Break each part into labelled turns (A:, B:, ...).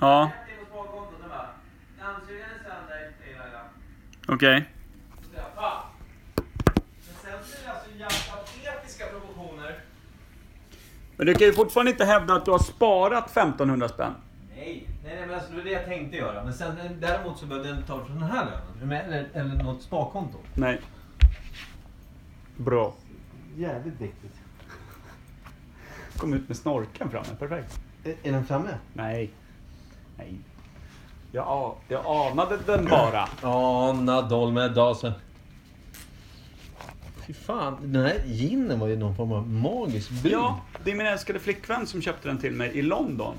A: Ja, okej. Men du kan ju fortfarande inte hävda att du har sparat 1500 spänn.
B: Nej, nej, nej, men alltså, det var det jag tänkte göra. Men sen, eh, däremot så behövde jag inte ta det från den här lönen. Men- Eller, eller något sparkonto.
A: Nej. Bra.
B: Jävligt viktigt.
A: Kom ut med snorken framme, perfekt.
B: Är, är den framme?
A: Nej. Nej. Jag, a- jag anade den bara.
B: Ja, Nadol med dasen. Fy fan, den här ginen var ju någon form av magisk brud.
A: Ja, det är min älskade flickvän som köpte den till mig i London.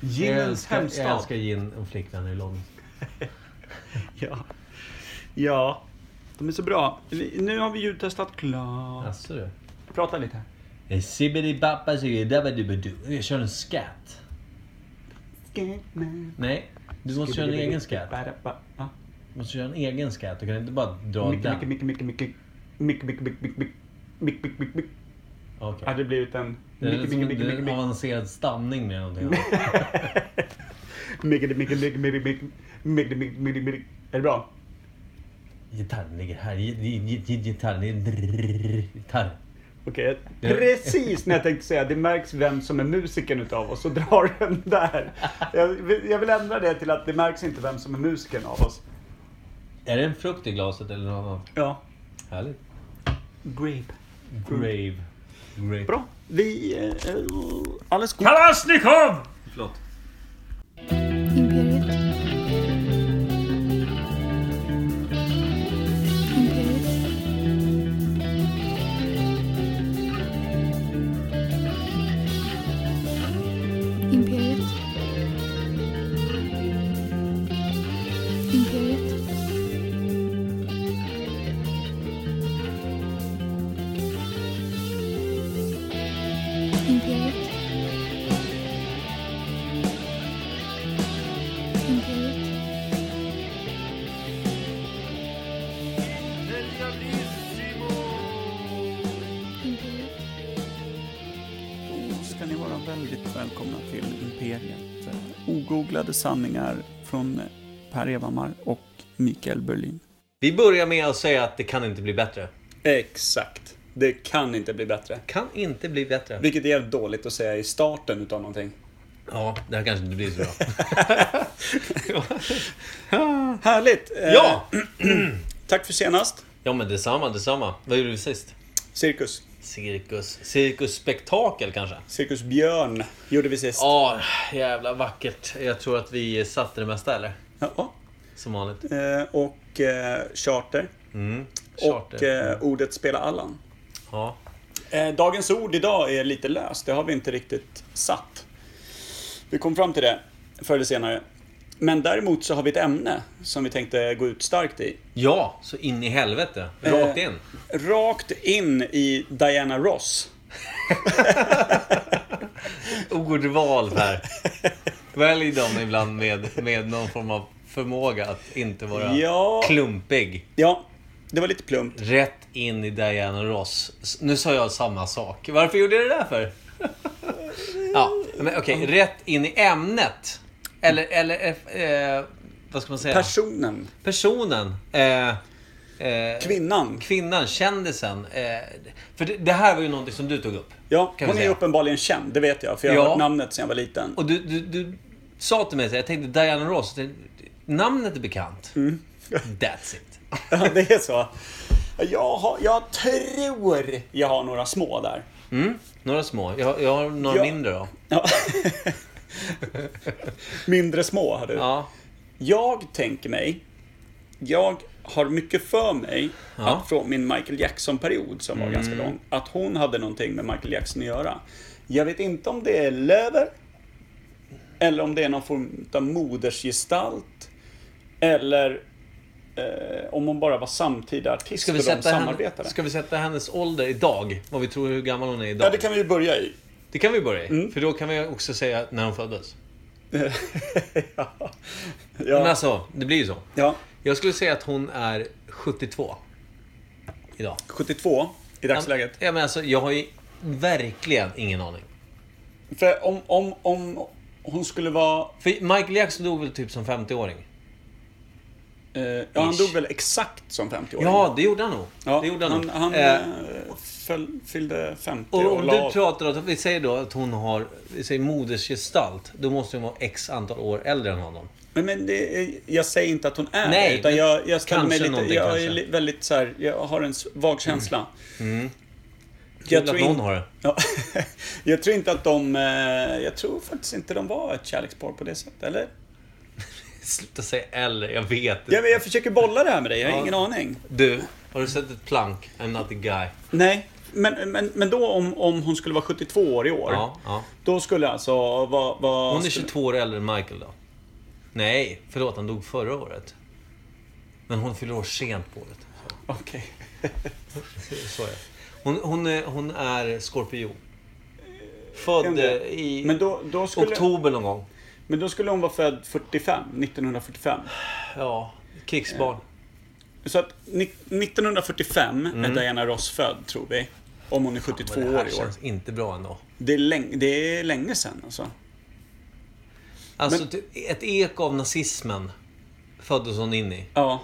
B: Jag
A: Ginens
B: älskar, jag
A: hemstad.
B: älskar gin och flickvänner i London.
A: Ja. ja, de är så bra. Vi- Nu har vi ljudtestat klart.
B: Jaså du?
A: Prata lite.
B: En sibbidi-bappa sibbidi-dabba-dubba-du. Jag kör en scat. Nej, du måste köra en egen scat. Du måste köra en egen scat. Du kan inte bara dra den.
A: Mycket, mycket, mycket, mycket, mycket, mycket, mycket, mycket, mycket, mycket, mycket, mycket, mycket.
B: Okej.
A: Hade det blivit en...
B: Det är
A: Mycket,
B: som
A: mycket,
B: en
A: mycket, mycket,
B: det är en
A: mycket.
B: avancerad stamning med någonting annat.
A: Mycket, mycket, mycket, mycket, mycket, mycket, mycket, mycket, mycket. Är det bra?
B: Gitarren ligger här. Gi- gi- gi- gi- Gitarren. Det är en drrrr- Gitarr.
A: Okej, precis när jag tänkte säga det märks vem som är musikern utav oss och drar den där. Jag vill, jag vill ändra det till att det märks inte vem som är musikern av oss.
B: Är det en frukt i glaset eller något annat?
A: Ja.
B: Härligt.
A: Grape.
B: Grave. Grave.
A: Bra. Vi... Eh, eh, alldeles
B: Kalasjnikov! Förlåt.
C: Imperiet. Imperiet. Imperiet. Imperiet. Imperiet. Imperiet. Imperiet.
A: Då ska ni vara väldigt välkomna till Imperiet. Ogooglade sanningar från Per Evhammar och Mikael Berlin.
B: Vi börjar med att säga att det kan inte bli bättre.
A: Exakt. Det kan inte bli bättre.
B: Kan inte bli bättre.
A: Vilket är jävligt dåligt att säga i starten utav någonting.
B: Ja, det här kanske inte blir så bra.
A: Härligt! Eh,
B: ja!
A: Tack för senast.
B: Ja men detsamma, detsamma. Vad gjorde vi sist?
A: Cirkus.
B: Cirkus. Cirkusspektakel kanske?
A: Cirkus Björn gjorde vi sist.
B: Ja, jävla vackert. Jag tror att vi satte det mesta eller?
A: Ja.
B: Som vanligt.
A: Eh, Och eh, charter. Och
B: Charter.
A: eh, ordet spela Allan.
B: Ja.
A: Eh, Dagens ord idag är lite löst. Det har vi inte riktigt satt. Vi kom fram till det förr eller senare. Men däremot så har vi ett ämne som vi tänkte gå ut starkt i.
B: Ja, så in i helvete. Rakt
A: Eh,
B: in.
A: Rakt in i Diana Ross.
B: Ordval här. Välj dem ibland med, med någon form av förmåga att inte vara
A: Ja.
B: klumpig.
A: Ja, det var lite plumpt.
B: Rätt in i Diana Ross. S- Nu sa jag samma sak. Varför gjorde jag det där för? ja, men okej. Rätt in i ämnet. Eller, eller eh, vad ska man säga?
A: Personen,
B: Personen. Eh, eh,
A: kvinnan.
B: kvinnan, kändisen. Eh, för det, det här var ju någonting som du tog upp.
A: Ja,
B: Kan vi
A: hon är ju
B: säga.
A: uppenbarligen känd, det vet jag. För jag har
B: Ja.
A: hört namnet sedan jag var liten.
B: Och du, du, du sa till mig så här, jag tänkte Diana Ross, det, namnet är bekant.
A: Mm.
B: That's it.
A: Ja, det är så. Jag, har, jag tror jag har några små där.
B: Mm. Några små. Jag, jag har några
A: Ja.
B: mindre då.
A: Ja. Mindre små har du.
B: Ja.
A: Jag tänker mig, jag har mycket för mig
B: Ja. Mm.
A: att från min Michael Jackson-period som var ganska lång, att hon hade någonting med Michael Jackson att göra. Jag vet inte om det är löver, eller om det är någon form av modersgestalt, eller eh, om hon bara var samtida artist
B: Ska vi,
A: för de
B: sätta henne,
A: samarbetade.
B: ska vi sätta hennes ålder idag? Vad vi tror hur gammal hon är idag?
A: Ja, det kan Mm. vi ju börja i.
B: Det kan vi börja i. För då kan vi också säga när hon föddes.
A: ja.
B: Men
A: Ja.
B: alltså, det blir ju så.
A: ja,
B: Jag skulle säga att hon är 72. Idag.
A: 72 i dagsläget.
B: Ja, men alltså, jag har ju verkligen ingen aning.
A: För om, om, om, Hon skulle vara...
B: För Michael Jackson dog väl typ som 50-åring?
A: Eh, ja, han
B: Ish.
A: dog väl exakt som 50-åring?
B: Ja, det gjorde han nog.
A: Ja,
B: det gjorde han,
A: han
B: nog.
A: han
B: Eh,
A: eh, föll, fyllde 50
B: och
A: och,
B: om
A: la
B: du
A: av.
B: pratar om, vi säger då att hon har, vi säger modersgestalt. Då måste hon vara x antal år äldre än honom.
A: Men, men det, är- jag säger inte att hon är
B: Nej,
A: det, utan
B: men
A: jag, jag ställer mig
B: kanske
A: lite...
B: någonting,
A: Jag
B: kanske. Mm.
A: är li- väldigt så här, jag har en s- vag känsla.
B: Kul att
A: tror
B: någon
A: in-
B: har det.
A: Ja, jag tror inte att de... eh, Jag tror faktiskt inte de var ett kärlekspar på det sättet, eller?
B: Sluta säga eller, jag vet inte.
A: Jag, jag försöker bolla det här med dig, jag har
B: Ja.
A: ingen aning.
B: Du, har du sett ett plank? I'm not the guy.
A: Nej, men, men, men då om, om hon skulle vara 72 år i år,
B: Ja, ja.
A: då skulle alltså vara... vara
B: Hon är
A: skulle-
B: 22 år äldre än Michael då. Nej, förlåt, han dog förra året. Men hon fyller år sent på året.
A: Okej.
B: Så är det. Hon, hon, är, hon är skorpion. Född
A: Ändå.
B: eh, i
A: Men då, då skulle,
B: oktober någon gång.
A: men då skulle hon vara född 45, 1945.
B: Ja, krigsbarn.
A: Så att ni- 1945
B: Mm.
A: är Diana Ross född, tror vi. Om hon är 72
B: Men det här
A: år i år.
B: känns inte bra ändå.
A: Det är, länge, det är länge sedan alltså.
B: Alltså, typ ett eko av nazismen föddes hon in i.
A: Ja.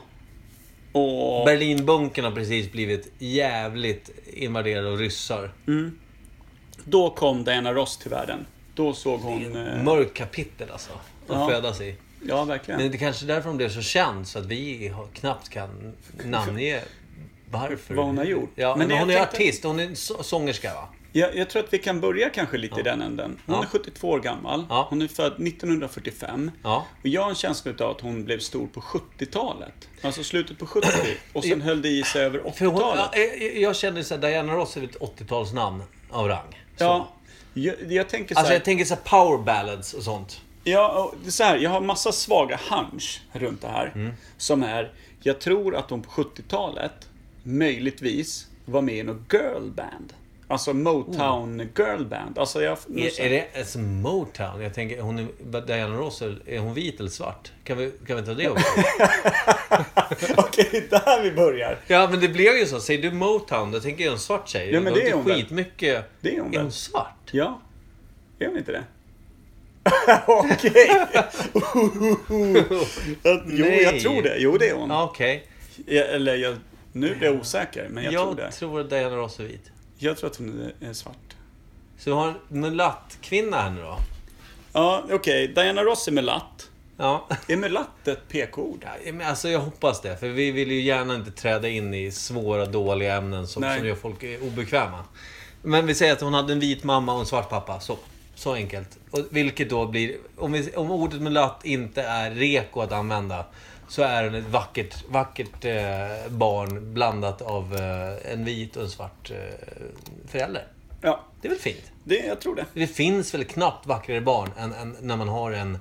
A: Och...
B: Berlinbunkern har precis blivit jävligt invaderad av ryssar.
A: Då kom Diana Ross till världen. Då såg hon... eh,
B: Mörkt kapitel alltså, att
A: Ja.
B: födas i.
A: Ja, verkligen.
B: Men det är kanske är därför hon blev så känd, så att vi har- knappt kan namnge varför.
A: Vad hon har gjort.
B: Ja,
A: Men
B: men,
A: det jag
B: hon är
A: tänkte-
B: artist, hon är så- sångerska va?
A: Jag, jag tror att vi kan börja kanske lite i den änden. Hon
B: Ja.
A: är 72 år gammal.
B: Ja.
A: Hon är född 1945.
B: Ja.
A: Och jag har en känsla utav att hon blev stor på 70-talet. Alltså slutet på 70. Och sen höll det i sig över
B: För hon, ja,
A: 80-talet.
B: jag, jag känner så här, Diana Ross är ett 80-talsnamn av rang. Så.
A: Ja, jag, jag tänker så
B: Alltså
A: här.
B: jag tänker så här power ballads och sånt.
A: Ja, och det är så här, jag har massa svaga hunch runt det här.
B: Mm.
A: Som är, jag tror att de på 70-talet möjligtvis var med i något girlband. Alltså Motown girlband. Alltså jag...
B: Oh. Är, är det alltså Motown? Jag tänker, hon är, Diana Ross, är är hon vit eller svart? Kan vi, kan vi ta det också?
A: Okej, där vi börjar.
B: Ja, men det blev ju så. Säger du Motown, då tänker jag en svart tjej.
A: Ja, men
B: Då
A: det är hon väl?
B: skitmycket...
A: Det är hon
B: Är
A: väl?
B: hon svart?
A: Ja. Är hon inte det? Okej. jo, jag
B: Nej.
A: tror det. Jo, det är hon.
B: Ja, okej.
A: Ja, Eller jag, nu blir jag osäker, men jag,
B: Jag,
A: tror det.
B: att Diana Ross är vit.
A: Jag tror att hon är svart.
B: Så vi har en mulattkvinna här nu då.
A: Ja, okej. Diana Ross är mulatt.
B: Ja.
A: Är mulatt ett PK-ord?
B: Ja, Men alltså jag hoppas det, för vi vill ju gärna inte träda in i svåra, dåliga ämnen som,
A: Nej.
B: som gör folk eh, obekväma. Men vi säger att hon hade en vit mamma och en svart pappa. Så, så enkelt. Och vilket då blir... Om, vi, om ordet mulatt inte är reko att använda så är hon ett vackert, vackert eh, barn blandat av eh, en vit och en svart eh, förälder.
A: Ja,
B: Det är väl fint?
A: det, jag tror det.
B: Det finns väl knappt vackrare barn än, än när man har en...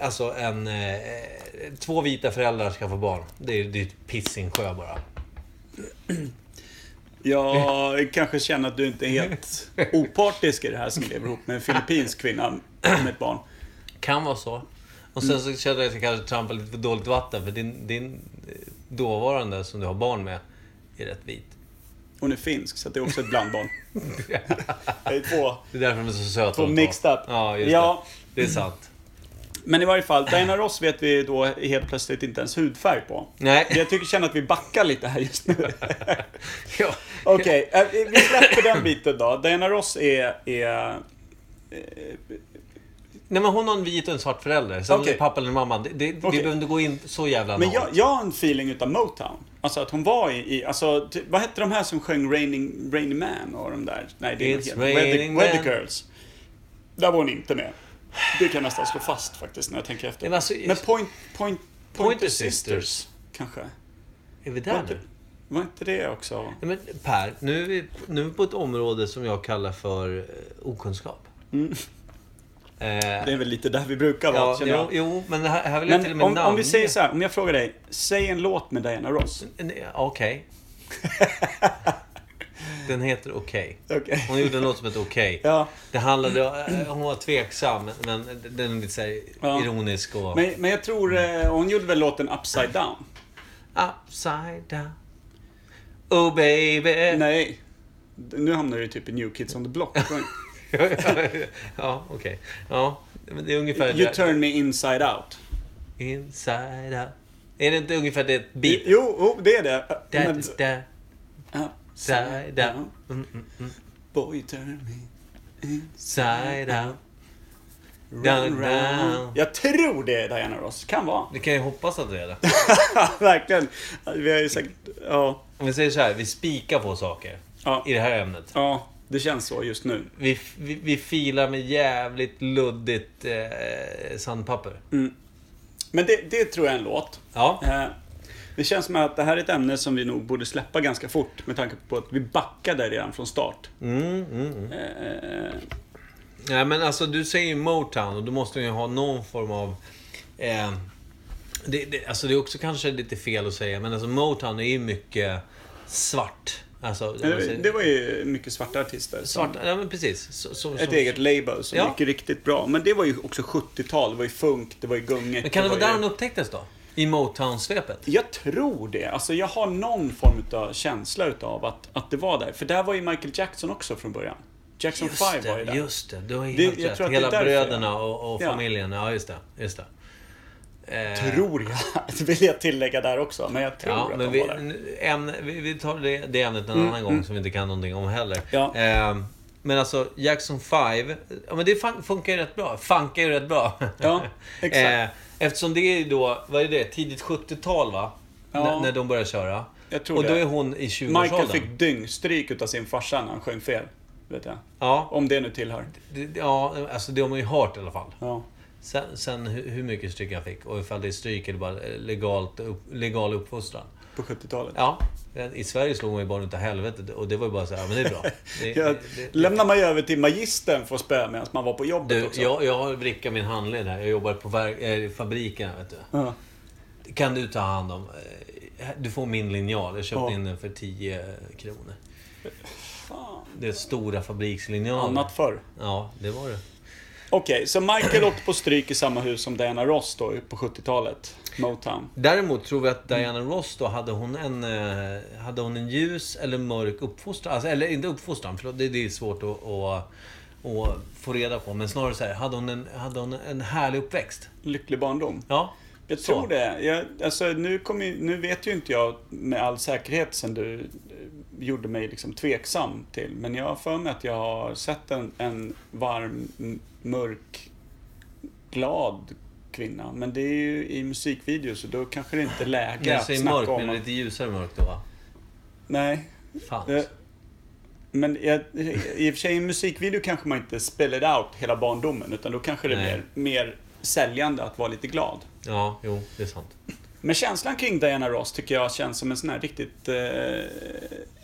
B: Alltså en... Eh, två vita föräldrar ska få barn. Det är, det är ett piss i en sjö bara.
A: Jag kanske känner att du inte är helt opartisk i det här som lever ihop med en filippinsk kvinna med ett barn.
B: Kan vara så. Och sen så känner jag att jag kanske trampar lite för dåligt vatten för din, din eh, dåvarande som du har barn med är rätt vit.
A: Hon är finsk, så det är också ett blandbarn. Det är två.
B: Det är därför de är så söta.
A: Två
B: de två.
A: mixed up.
B: Ja, just
A: Ja.
B: det. Det är sant.
A: Men i varje fall, Diana Ross vet vi då helt plötsligt inte ens hudfärg på.
B: Nej.
A: Jag tycker känner att vi backar lite här just nu.
B: Ja.
A: Okej, eh, vi släpper den biten då. Diana Ross är... är eh,
B: Nej men hon har en vit och en svart förälder. Sen
A: Okej.
B: pappa eller mamma. Det, det, det
A: Okej.
B: behöver inte gå in så jävla
A: men
B: långt.
A: jag, jag har en feeling utav Motown. Alltså att hon var i... i alltså, ty- vad hette de här som sjöng Raining, Raining Man och de där? Nej, det är
B: It's
A: helt... Weather,
B: raining
A: Weather
B: man.
A: Girls. Där var hon inte med. Det kan jag nästan slå fast faktiskt när jag tänker efter.
B: Men alltså-
A: Men Point... Point...
B: Pointer Sisters.
A: Kanske.
B: Är vi
A: Var
B: där
A: inte,
B: nu?
A: var inte det också...
B: Nej, men per, nu är, vi, nu är vi på ett område som jag kallar för eh, okunskap. Eh,
A: Mm. Det är väl lite där vi brukar vara,
B: ja,
A: känner jag.
B: jo, jo, men här, här vill jag till och
A: Men
B: med
A: om, om vi
B: namnge-
A: säger så här, om jag frågar dig, säg en låt med Diana Ross.
B: Nej, Okej. Den heter Okej.
A: Okej.
B: Hon gjorde en låt som hette Okej.
A: Ja.
B: Det handlade, eh, hon var tveksam, men den är lite så här
A: Ja.
B: ironisk och...
A: Men, men jag tror, eh, hon gjorde väl låten Upside Down?
B: Upside down. Oh baby.
A: Nej. Nu hamnar du typ i New Kids on the Block.
B: ja, okej. Ja, Men det är ungefär
A: You
B: det.
A: turn me inside out.
B: Inside out. Är det inte ungefär det beat?
A: Jo, jo, det är det.
B: Da,
A: Men-
B: da,
A: Upside
B: side out.
A: down.
B: Mm, mm, mm.
A: Boy, you turn me
B: Side out.
A: round,
B: Down,
A: round.
B: down.
A: Jag tror det är Diana Ross. Kan vara.
B: Det kan jag hoppas att det är det.
A: Verkligen. Vi har ju sagt... Ja.
B: Om vi säger så här, vi spikar på saker.
A: Ja.
B: I det här ämnet.
A: Ja, det känns så just nu.
B: Vi, vi, vi filar med jävligt luddigt eh, sandpapper.
A: Men det, det tror jag är en låt.
B: Ja.
A: Eh, Det känns som att det här är ett ämne som vi nog borde släppa ganska fort med tanke på att vi backade redan från start.
B: Mm, mm, mm.
A: Eh,
B: Nej men alltså du säger ju Motown och då måste man ju ha någon form av... Eh, det, det, alltså det är också kanske lite fel att säga, men alltså Motown är ju mycket svart. Alltså, om man
A: det-
B: säger-
A: Det var ju mycket svarta artister. som-
B: Svart, ja men precis. Så, som,
A: Ett
B: som,
A: eget label som
B: Ja.
A: gick riktigt bra. Men det var ju också 70-tal. Det var ju funk, det var ju gungigt.
B: Men kan det vara
A: var
B: där
A: ju-
B: han upptäcktes då? I Motown-svepet?
A: Jag tror det. Alltså jag har någon form av känsla utav att, att det var där. För där var ju Michael Jackson också från början. Jackson 5 var
B: det,
A: ju där.
B: just det. Du har ju
A: Det-
B: helt
A: jag
B: rätt.
A: tror att
B: Hela
A: det är därför,
B: bröderna och, och
A: Ja.
B: familjen. Ja, just det. Just det. Eh,
A: Tror jag. Det vill jag tillägga där också. Men jag tror
B: Ja,
A: att
B: men
A: de
B: vi,
A: var där.
B: nu- ämne, vi, vi tar det, det ämnet en annan gång som vi inte kan någonting om heller.
A: Mm, Ja.
B: Ehm, men alltså Jackson 5, ja, men det fun- funkar ju rätt bra. Funkar ju rätt bra.
A: Ja, exakt.
B: Eh, eftersom det är ju då, vad är det, tidigt 70-tal va?
A: Ja.
B: N- när de börjar köra.
A: Jag tror
B: Och då
A: det.
B: är hon i 20-årsåldern.
A: Michael fick dyngstryk utav sin farsa när han sjöng fel. Vet jag.
B: Ja,
A: Om det nu tillhör.
B: det, det- ja, alltså det har man ju hört i alla fall.
A: Ja.
B: Sen, sen hur, hur mycket stryk han fick och ifall det är stryk eller bara eh, legalt, upp, legal uppfostran.
A: På 70-talet.
B: Ja, i Sverige slog man ju barn utav helvetet och det var ju bara så här, ja, men det är bra. Det,
A: Ja,
B: det, det,
A: lämnar man ju över till magistern för att spöa medan man var på jobbet
B: du,
A: också.
B: jag, jag har vrickat min handled här. Jag jobbar på ver- eh, fabriken, vet du.
A: Ja.
B: Kan du ta hand om... eh, här- Du får min linjal. Jag köpte
A: Ja.
B: in den för 10 kronor.
A: Fan.
B: Det är stora fabrikslinjaler.
A: Annat förr.
B: Ja, det var det.
A: Okej, så Michael åkte på stryk i samma hus som Diana Ross då på 70-talet. Motown.
B: Däremot tror vi att Diana Ross då, hade hon en, eh, hade hon en ljus eller mörk uppfostran? Alltså, eller inte uppfostran, förlåt, det, det är svårt att, att, att få reda på. Men snarare så här, hade hon en, hade hon en härlig uppväxt?
A: Lycklig barndom.
B: Ja.
A: Jag
B: Så.
A: tror det. Jag, alltså, nu, kommer ju, nu vet ju inte jag med all säkerhet sen du eh, gjorde mig liksom tveksam till. Men jag har för mig att jag har sett en, en varm, m- mörk, glad kvinna. Men det är ju i musikvideo så då kanske det inte är läge
B: Jag
A: att
B: säger
A: snacka
B: mörk,
A: om.
B: men
A: att-
B: lite ljusare mörk då va?
A: Nej.
B: Fan.
A: Eh, Men jag, i och för sig i en musikvideo kanske man inte spelar out hela barndomen utan då kanske det är
B: Nej.
A: mer, mer säljande att vara lite glad.
B: Ja, jo, det är sant.
A: Men känslan kring Diana Ross tycker jag känns som en sån här riktigt... Eh,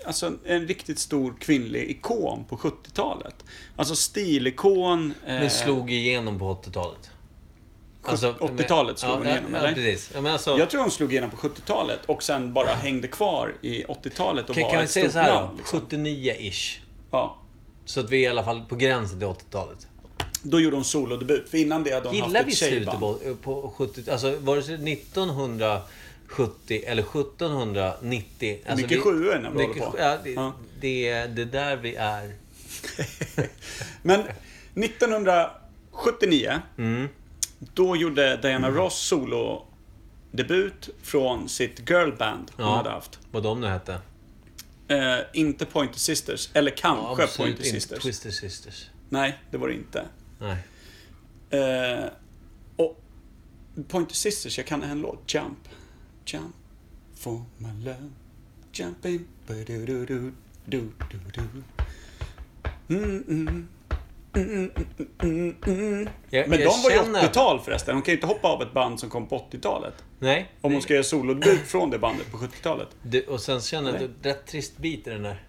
A: alltså en riktigt stor kvinnlig ikon på 70-talet. Alltså stilikon. Eh,
B: Men slog igenom på 80-talet.
A: 80-talet slog
B: ja,
A: hon
B: ja,
A: igenom,
B: ja,
A: eller?
B: precis. Ja, men alltså,
A: Jag tror hon slog igenom på 70-talet och sen bara hängde kvar i 80-talet och
B: kan,
A: var
B: kan vi
A: ett
B: säga
A: stort
B: så här
A: namn.
B: då?
A: Liksom.
B: 79-ish.
A: Ja.
B: Så att vi är i alla fall på gränsen till 80-talet.
A: Då gjorde hon solodebut, för innan det hade hon
B: Gillar
A: haft
B: vi
A: ett
B: slutet
A: tjejband.
B: på, på 70 Alltså vare sig 1970 eller 1790. Alltså,
A: Mycket sjuor när vi håller på.
B: Ja, det,
A: Ja.
B: Det, är- det är där vi är.
A: Men 1979,
B: Mm.
A: då gjorde Diana Ross solodebut från sitt girlband hon
B: Ja.
A: hade haft.
B: Vad de nu hette.
A: Eh, inte Pointer Sisters, eller kanske
B: Absolut
A: Pointer
B: inte
A: Sisters.
B: Twister Sisters.
A: Nej, det var det inte.
B: Nej.
A: Eh, och Pointer Sisters, jag kan en låt. Jump, jump for my love. Jump in. Ba-du-du-du, du-du-du. Mm, mm, mm, mm, mm, mm.
B: Jag-
A: Men
B: jag
A: de var ju
B: känner-
A: 80-tal förresten. Hon kan ju inte hoppa av ett band som kom på 80-talet.
B: Nej.
A: Om hon ska göra solodebut från det bandet på 70-talet.
B: Det, och sen känner jag
A: Nej.
B: att det är ett rätt trist bit i den där.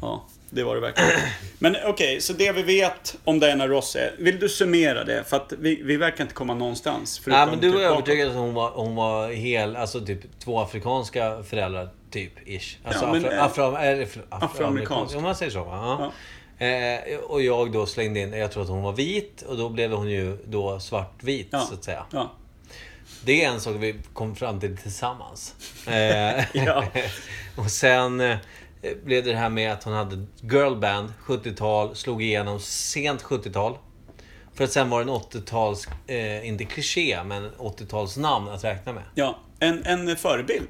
A: Ja, det var det verkligen. Men okej, så det vi vet om Diana Ross är. Vill du summera det? För att vi, vi verkar inte komma någonstans.
B: Nej,
A: förutom
B: men du
A: typ
B: var
A: bakåt.
B: övertygad att hon var, hon var hel, alltså typ två afrikanska föräldrar, typ, ish. Alltså
A: Ja, men,
B: afro,
A: eh,
B: afro, eller, förlåt,
A: afroamerikansk.
B: afroamerikansk. Om man säger så, va? Ja. Eh, och jag då slängde in, jag tror att hon var vit, och då blev hon ju då svartvit,
A: Ja.
B: så att säga.
A: Ja.
B: Det är en sak vi kom fram till tillsammans. Eh,
A: Ja.
B: och sen eh, blev det det här med att hon hade girlband, 70-tal, slog igenom sent 70-tal. För att sen var det en 80-tals, eh, inte kliché, men 80-talsnamn att räkna med.
A: Ja, en, en förebild.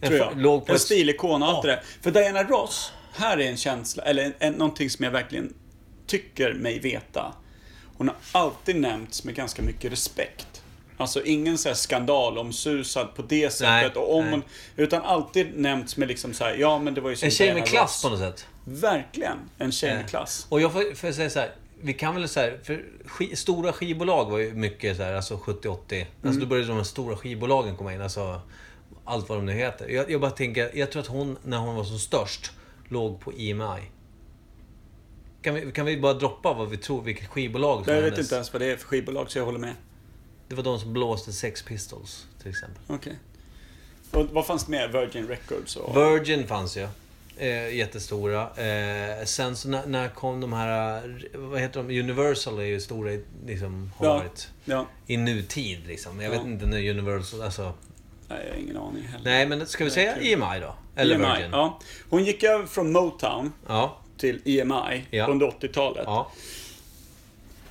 B: En
A: tror
B: för-
A: jag.
B: låg på
A: en
B: ett-
A: stilikon och allt det där. För Diana Ross, här är en känsla, eller en, en, någonting som jag verkligen tycker mig veta. Hon har alltid nämnts med ganska mycket respekt. Alltså ingen så här skandalomsusad på det sättet. och om
B: nej.
A: hon, utan alltid nämnts med liksom så här, ja men det var ju som
B: En tjej
A: Diana
B: med klass
A: Ross.
B: på något sätt.
A: Verkligen, en tjej med klass.
B: Och jag får, får jag säga så här. Vi kan väl så här, för ski, stora skivbolag var ju mycket så här, alltså 70-80.
A: Mm.
B: Alltså då började de här stora skivbolagen komma in. Alltså allt vad de nu heter. Jag, jag bara tänker, jag tror att hon, när hon var som störst, låg på EMI. Kan vi, kan vi bara droppa vad vi tror, vilket skivbolag som
A: Jag
B: var
A: vet inte ens vad det är för skivbolag, så jag håller med.
B: Det var de som blåste Sex Pistols, till exempel.
A: Okej. Och vad fanns det mer? Virgin Records och...
B: Virgin fanns ju. Eh, jättestora. Eh, sen så när, när kom de här... eh, Vad heter de? Universal är ju stora, i- liksom, har
A: Ja.
B: varit.
A: ja.
B: I nutid liksom. Jag
A: Ja.
B: vet inte när Universal... Alltså,
A: Nej, jag har ingen aning heller.
B: nej, men ska vi säga EMI då? Eller
A: EMI,
B: Virgin? Ja.
A: E ja. Hon gick över från Motown
B: ja.
A: till EMI
B: Ja.
A: under 80-talet.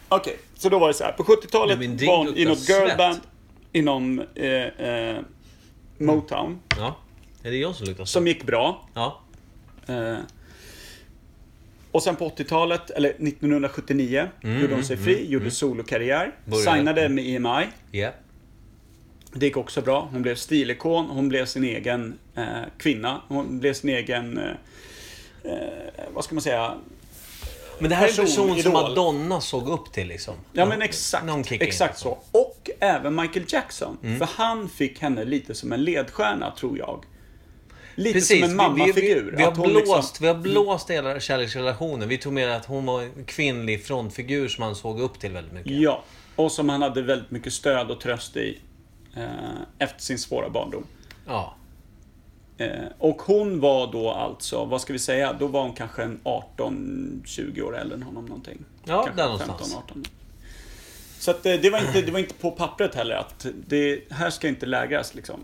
A: Okej, så då var det så här. På 70-talet
B: Du, min drink
A: var hon i
B: luktar
A: något
B: svett.
A: girlband inom eh, eh, Motown,
B: ja. Är det jag som luktar?
A: som gick bra.
B: Ja.
A: Eh, och sen på 80-talet, eller 1979, gjorde hon sig fri, gjorde solokarriär,
B: Mm, Började.
A: signade med EMI.
B: Yeah.
A: Det gick också bra. Hon blev stilikon, hon blev sin egen eh, kvinna, hon blev sin egen, eh, eh, vad ska man säga,
B: Men det här är en
A: Person,
B: person som
A: idol.
B: Madonna såg upp till liksom.
A: Ja men exakt.
B: Någon kick in. Mm.
A: Exakt så. Och även Michael Jackson. För han fick henne lite som en ledstjärna, tror jag. Lite
B: Precis,
A: som en
B: vi,
A: mammafigur.
B: vi, vi, har
A: Att hon
B: blåst,
A: liksom-
B: vi har blåst hela kärleksrelationen. Vi tog med att hon var en kvinnlig frontfigur som han såg upp till väldigt mycket.
A: Ja. Och som han hade väldigt mycket stöd och tröst i. Eh, efter sin svåra barndom.
B: Ja.
A: Eh, och hon var då alltså, vad ska vi säga, då var hon kanske en 18-20 år äldre än honom någonting.
B: Ja,
A: kanske
B: där någonstans.
A: 18. Så att eh, det var, inte, det var inte på pappret heller att det här ska inte lägras liksom.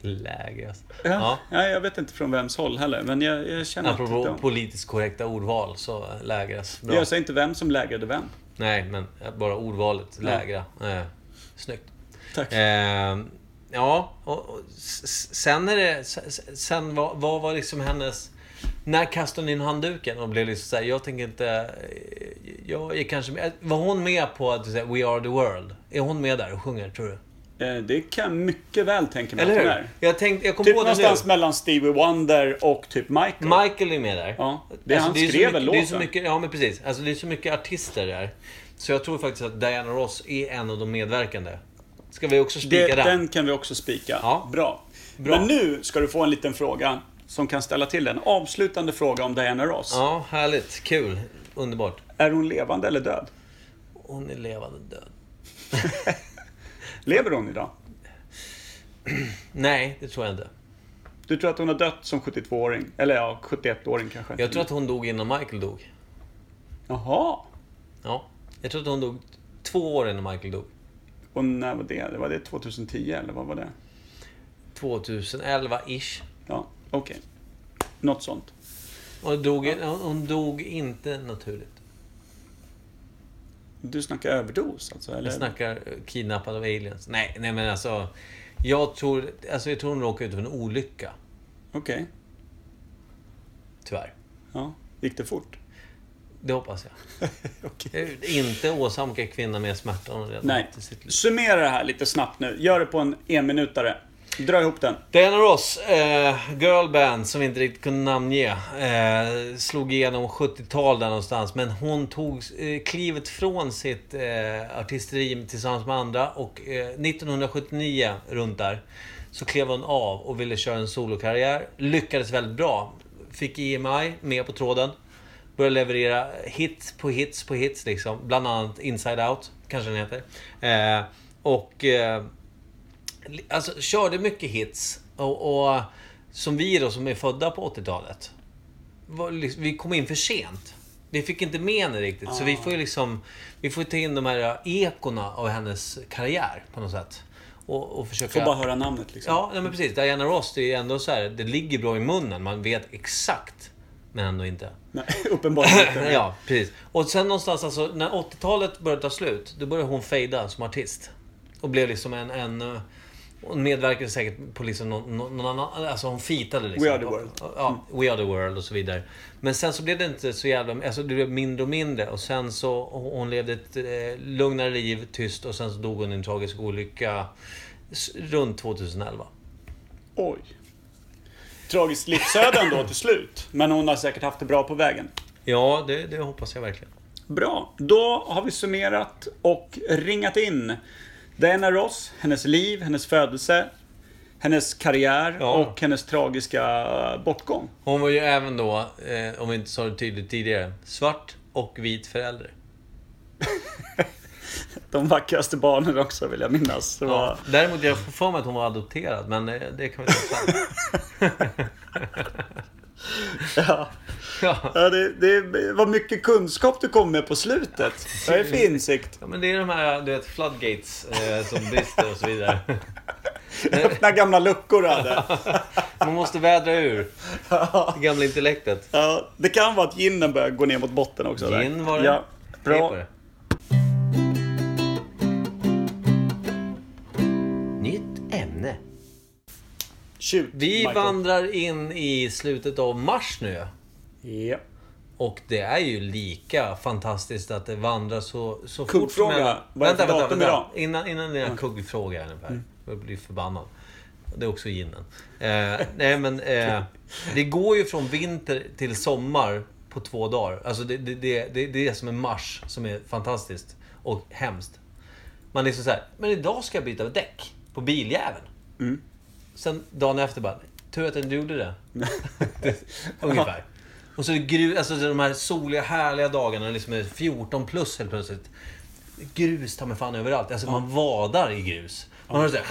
B: Lägres.
A: Ja,
B: Ja.
A: Nej, jag vet inte från vems håll heller, men jag, jag känner att...
B: Apropå
A: de-
B: politiskt korrekta ordval så lägras. Bra.
A: Jag säger inte vem som lägrade vem.
B: Nej, men bara ordvalet. Lägra. Eh, snyggt.
A: Tack.
B: Eh, ja, och, och s- s- sen är det... s- s- Sen vad, vad var liksom hennes... När kastade hon in handduken och blev liksom såhär, jag tänker inte... eh, Jag är kanske med. Var hon med på att säga We Are The World? Är hon med där och sjunger, tror du?
A: Eh, Det kan jag mycket väl tänka mig
B: Eller
A: att hon
B: hur?
A: är.
B: Jag, tänkte, jag kom
A: Typ
B: på det
A: någonstans
B: nu.
A: mellan Stevie Wonder och typ Michael.
B: Michael är med där.
A: Ja, det han
B: är så
A: skrev
B: mycket,
A: väl
B: det är så
A: låten?
B: mycket, Ja, men precis. Alltså, det är så mycket artister där. Så jag tror faktiskt att Diana Ross är en av de medverkande. Ska vi också
A: det,
B: spika den?
A: den kan vi också spika.
B: Ja.
A: Bra.
B: Bra.
A: Men nu ska du få en liten fråga som kan ställa till en avslutande fråga om Diana Ross.
B: Ja, härligt. Kul. Underbart.
A: Är hon levande eller död?
B: Hon är levande död.
A: Lever hon idag?
B: Nej, det tror jag inte.
A: Du tror att hon har dött som 72-åring? Eller ja, 71-åring kanske?
B: Jag tror att hon dog innan Michael dog.
A: Jaha.
B: Ja. Jag tror att hon dog två år innan Michael dog.
A: Och när var det? Var det 2010 eller vad var det?
B: 2011-ish.
A: Ja, okej. Något sånt.
B: Hon dog, hon hon dog inte naturligt.
A: Du snackar överdos alltså? Eller?
B: Jag snackar eh, kidnappad av aliens. Nej, nej men alltså. Jag tror, alltså jag tror hon råkade ut för en olycka.
A: Okej.
B: Tyvärr.
A: Ja. Gick det fort?
B: Det hoppas jag.
A: Okej.
B: Eh, Inte åsamka kvinnan mer smärta än hon redan
A: Nej.
B: haft i sitt liv.
A: Summera det här lite snabbt nu. Gör det på en enminutare. Dra ihop den.
B: Diana Ross, eh, girlband som vi inte riktigt kunde namnge. Eh, slog igenom 70-tal där någonstans. Men hon tog eh, klivet från sitt eh, artisteri tillsammans med andra. Och eh, 1979, runt där, så klev hon av och ville köra en solokarriär. Lyckades väldigt bra. Fick EMI med på tråden. Började leverera hits på hits på hits liksom. Bland annat Inside Out, kanske den heter. Eh, och... Eh, alltså, körde mycket hits. Och, och som vi då, som är födda på 80-talet. Var, liksom, vi kom in för sent. Vi fick inte med henne riktigt. Så vi
A: Ah.
B: får ju liksom... Vi får ta in de här äh, ekorna av hennes karriär på något sätt. Och, och försöka...
A: Får bara höra namnet liksom.
B: Ja, nej, men precis. Diana Ross, det är ju ändå så här, det ligger bra i munnen. Man vet exakt, men ändå inte.
A: Nej, uppenbarligen inte.
B: Ja, precis. Och sen någonstans, alltså, när 80-talet började ta slut, då började hon fejda som artist. Och blev liksom en... en eh, hon medverkade säkert på liksom någon, någon någon annan... Alltså hon fitade liksom.
A: We Are The World.
B: Ja, We Are The World och så vidare. Men sen så blev det inte så jävla... Alltså det blev mindre och mindre. Och sen så... Hon levde ett eh, lugnare liv, tyst. Och sen så dog hon i en tragisk olycka s- runt 2011.
A: Oj. Tragiskt livsöde ändå till slut. Men hon har säkert haft det bra på vägen.
B: Ja, det, det hoppas jag verkligen.
A: Bra, då har vi summerat och ringat in Diana Ross, hennes liv, hennes födelse, hennes karriär
B: Ja.
A: och hennes tragiska bortgång.
B: Hon var ju även då, eh, om vi inte sa det tydligt tidigare, svart och vit förälder.
A: De vackraste barnen också vill jag minnas. Det var...
B: Ja. Däremot, jag får för mig att hon var adopterad, men eh, det kan vi ta sen.
A: Ja.
B: ja.
A: Ja, det, det var mycket kunskap du kom med på slutet. Vad är för insikt?
B: ja, men det är de här, du vet, floodgates eh, som brister och så vidare.
A: Öppna gamla luckor du hade.
B: Man måste vädra ur det gamla intellektet.
A: Ja, det kan vara att ginen börjar gå ner mot botten också. där.
B: Gin var det.
A: Ja,
B: Hej på
A: bra.
B: det. Nytt ämne.
A: Shoot,
B: Vi
A: Michael.
B: vandrar in i slutet av mars nu.
A: Ja.
B: Och det är ju lika fantastiskt att det vandrar så, så fort
A: Kuggfråga. Vad är det för datum idag? Mm.
B: Innan, innan jag kuggfrågar här nu Per. Jag blir förbannad. Det är också ginen. Eh, nej men, eh, det går ju från vinter till sommar på två dagar. Alltså det, det, det, det, det är det som är mars som är fantastiskt. Och hemskt. Man är liksom såhär, men idag ska jag byta däck på biljäveln. Sen dagen efter bara, tur att jag inte gjorde det. Ungefär. Och så är det gru, alltså så är det de här soliga, härliga dagarna, när det liksom är 14 plus helt plötsligt. Grus tar mig fan överallt. Alltså man vadar i grus. Man hör såhär...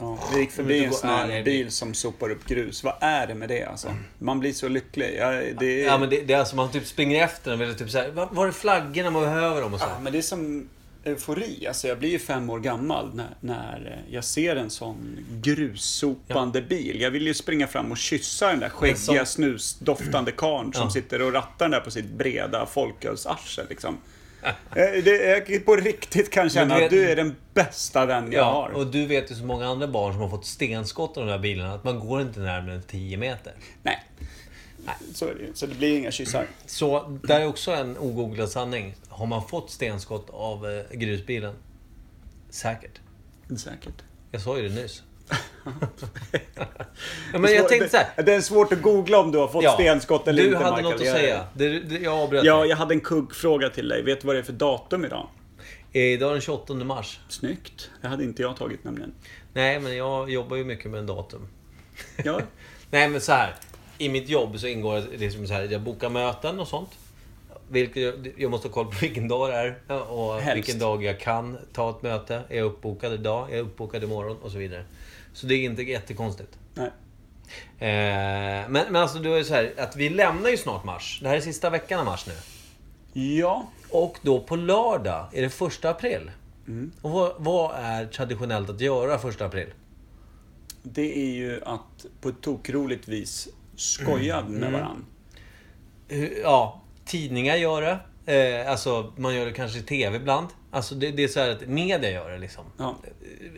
A: Ja, vi gick
B: Om
A: förbi
B: du
A: en
B: går-
A: sån
B: ja, det
A: här
B: är-
A: bil som sopar upp grus. Vad är det med det alltså? Man blir så lycklig. Ja, det, är,
B: Ja men
A: men
B: det, det är alltså man typ springer efter dem. Eller typ såhär, var, var är flaggorna? Man behöver dem och så.
A: det... är som eufori. Alltså, jag blir ju fem år gammal när, när jag ser en sån grussopande bil. Jag vill ju springa fram och kyssa den där skäggiga,
B: som-
A: snusdoftande karln som
B: Ja.
A: sitter och rattar den där på sitt breda folkölsarsel. Liksom. Eh, det, jag på riktigt kan känna
B: vet-
A: att du är den bästa vän jag
B: Ja,
A: har.
B: och du vet ju så många andra barn som har fått stenskott av de här bilarna att man går inte närmare än 10 meter.
A: Nej. Så är det ju. Så det blir inga kyssar.
B: Så där är också en ogooglad sanning. Har man fått stenskott av eh, grusbilen? Säkert.
A: Säkert.
B: Jag sa ju det nyss. ja, men jag tänkte så här.
A: Det, det är svårt att googla om du har fått
B: Ja,
A: stenskott eller
B: du
A: inte,
B: hade
A: Michael.
B: något att
A: Jag-
B: säga. Det, det, jag avbröt
A: Ja,
B: dig.
A: jag hade en kuggfråga till dig. Vet du vad det är för datum idag?
B: Eh, Idag är den 28 mars.
A: Snyggt. Det hade inte jag tagit nämligen.
B: Nej, men jag jobbar ju mycket med en datum.
A: Ja,
B: Nej, men så här. I mitt jobb så ingår det liksom så här, jag bokar möten och sånt. Vilket jag, jag måste ha koll på vilken dag det är ja, och
A: Helst.
B: vilken dag jag kan ta ett möte. Är jag uppbokad idag? Är jag uppbokad imorgon? Och så vidare. Så det är inte jättekonstigt.
A: nej.
B: Eh, men, men alltså, det är ju så här att vi lämnar ju snart mars. Det här är sista veckan av mars nu.
A: Ja,
B: Och då på lördag är det första april.
A: Mm.
B: Och vad, vad är traditionellt att göra första april?
A: det är ju att på ett tokroligt vis skoja
B: Mm.
A: med varandra.
B: Hur- Ja, tidningar gör det. Eh, alltså, man gör det kanske i TV ibland. Alltså, det, det är så här att media gör det liksom.
A: Ja.
B: Eh,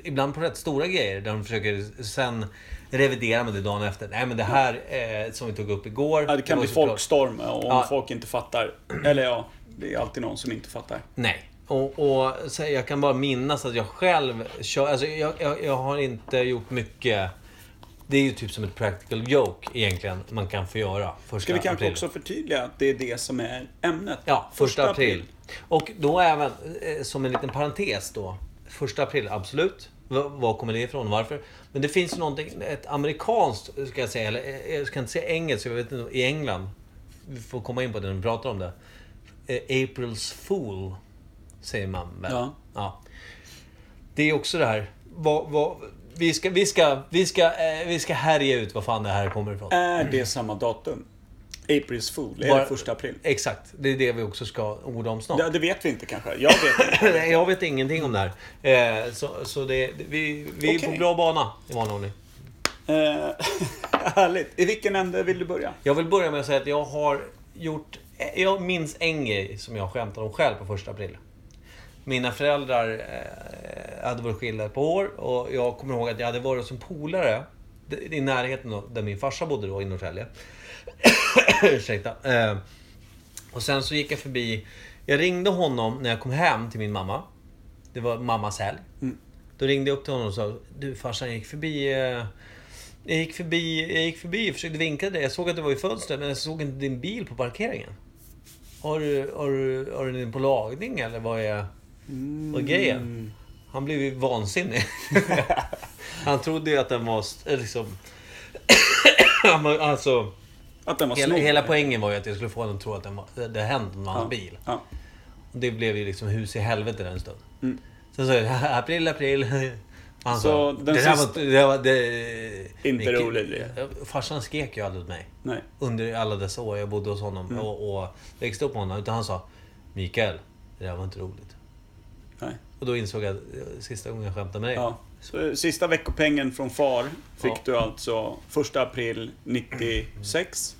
B: Ibland på rätt stora grejer där de försöker sen revidera med det dagen efter. Nej men det här eh, som vi tog upp igår.
A: Ja, det kan
B: var
A: bli
B: såklart-
A: folkstorm och om
B: Ja.
A: folk inte fattar. Eller ja, det är alltid någon som inte fattar.
B: Nej. Och, och så jag kan bara minnas att jag själv kör, alltså jag, jag, jag har inte gjort mycket. Det är ju typ som ett practical joke egentligen man kan få göra första
A: Ska vi kanske
B: april.
A: också förtydliga att det är det som är ämnet?
B: Ja, första april. Och då även, eh, som en liten parentes då. Första april, absolut. V- Var kommer det ifrån? Varför? Men det finns ju någonting, ett amerikanskt, ska jag säga, eller eh, jag ska inte säga engelskt, jag vet inte, i England. Vi får komma in på det när vi pratar om det. Eh, April's Fool, säger man väl?
A: Ja.
B: ja. Det är också det här, vad, vad, vi ska, vi ska, vi ska, eh, vi ska härja ut vad fan det här kommer ifrån.
A: Är det samma datum? April's Fool, är
B: Bara-
A: Eh, det första april?
B: Exakt, det är det vi också ska orda om snart.
A: Ja, det vet vi inte kanske. Jag vet inte.
B: Nej, jag vet ingenting om det här. Eh, så så det, vi, vi är på
A: Okej.
B: bra bana i vanlig ordning.
A: Eh, härligt. I vilken ände vill du börja?
B: Jag vill börja med att säga att jag har gjort... Jag minns en grej som jag skämtade om själv på första april. Mina föräldrar eh, hade varit skilda ett par år och jag kommer ihåg att jag hade varit som polare d- i närheten av där min farsa bodde då i Norrtälje. Ursäkta. Eh, och sen så gick jag förbi... Jag ringde honom när jag kom hem till min mamma. Det var mammas helg. Då ringde jag upp till honom och sa Du farsan, jag gick förbi... eh, Jag gick förbi, jag gick förbi och försökte vinka dig. Jag såg att du var i fönstret men jag såg inte din bil på parkeringen. Har du, har du, har du den på lagning eller vad är, vad är grejen? Han blev ju vansinnig. Han trodde ju att den var st- liksom... Han var- alltså,
A: Att den var
B: hela,
A: snorig.
B: hela poängen var ju att jag skulle få honom att tro att den var, det hade hänt med hans
A: ja.
B: bil.
A: Ja.
B: Det blev ju liksom hus i helvete den stund. Sen sa jag april, april. Han
A: Mm. Så
B: sa,
A: den
B: det där
A: sista-
B: var... Det där var det...
A: Inte
B: Vilket-
A: roligt, det.
B: Farsan skrek ju aldrig åt mig.
A: Nej.
B: Under alla dessa år jag bodde hos honom
A: Mm.
B: och, och växte upp med honom. Utan han sa, Mikael, det där var inte roligt.
A: Nej.
B: Och då insåg jag, eh, sista gången jag skämtade med dig.
A: Ja. Så eh, sista veckopengen från far fick
B: Ja.
A: du alltså 1 april 96.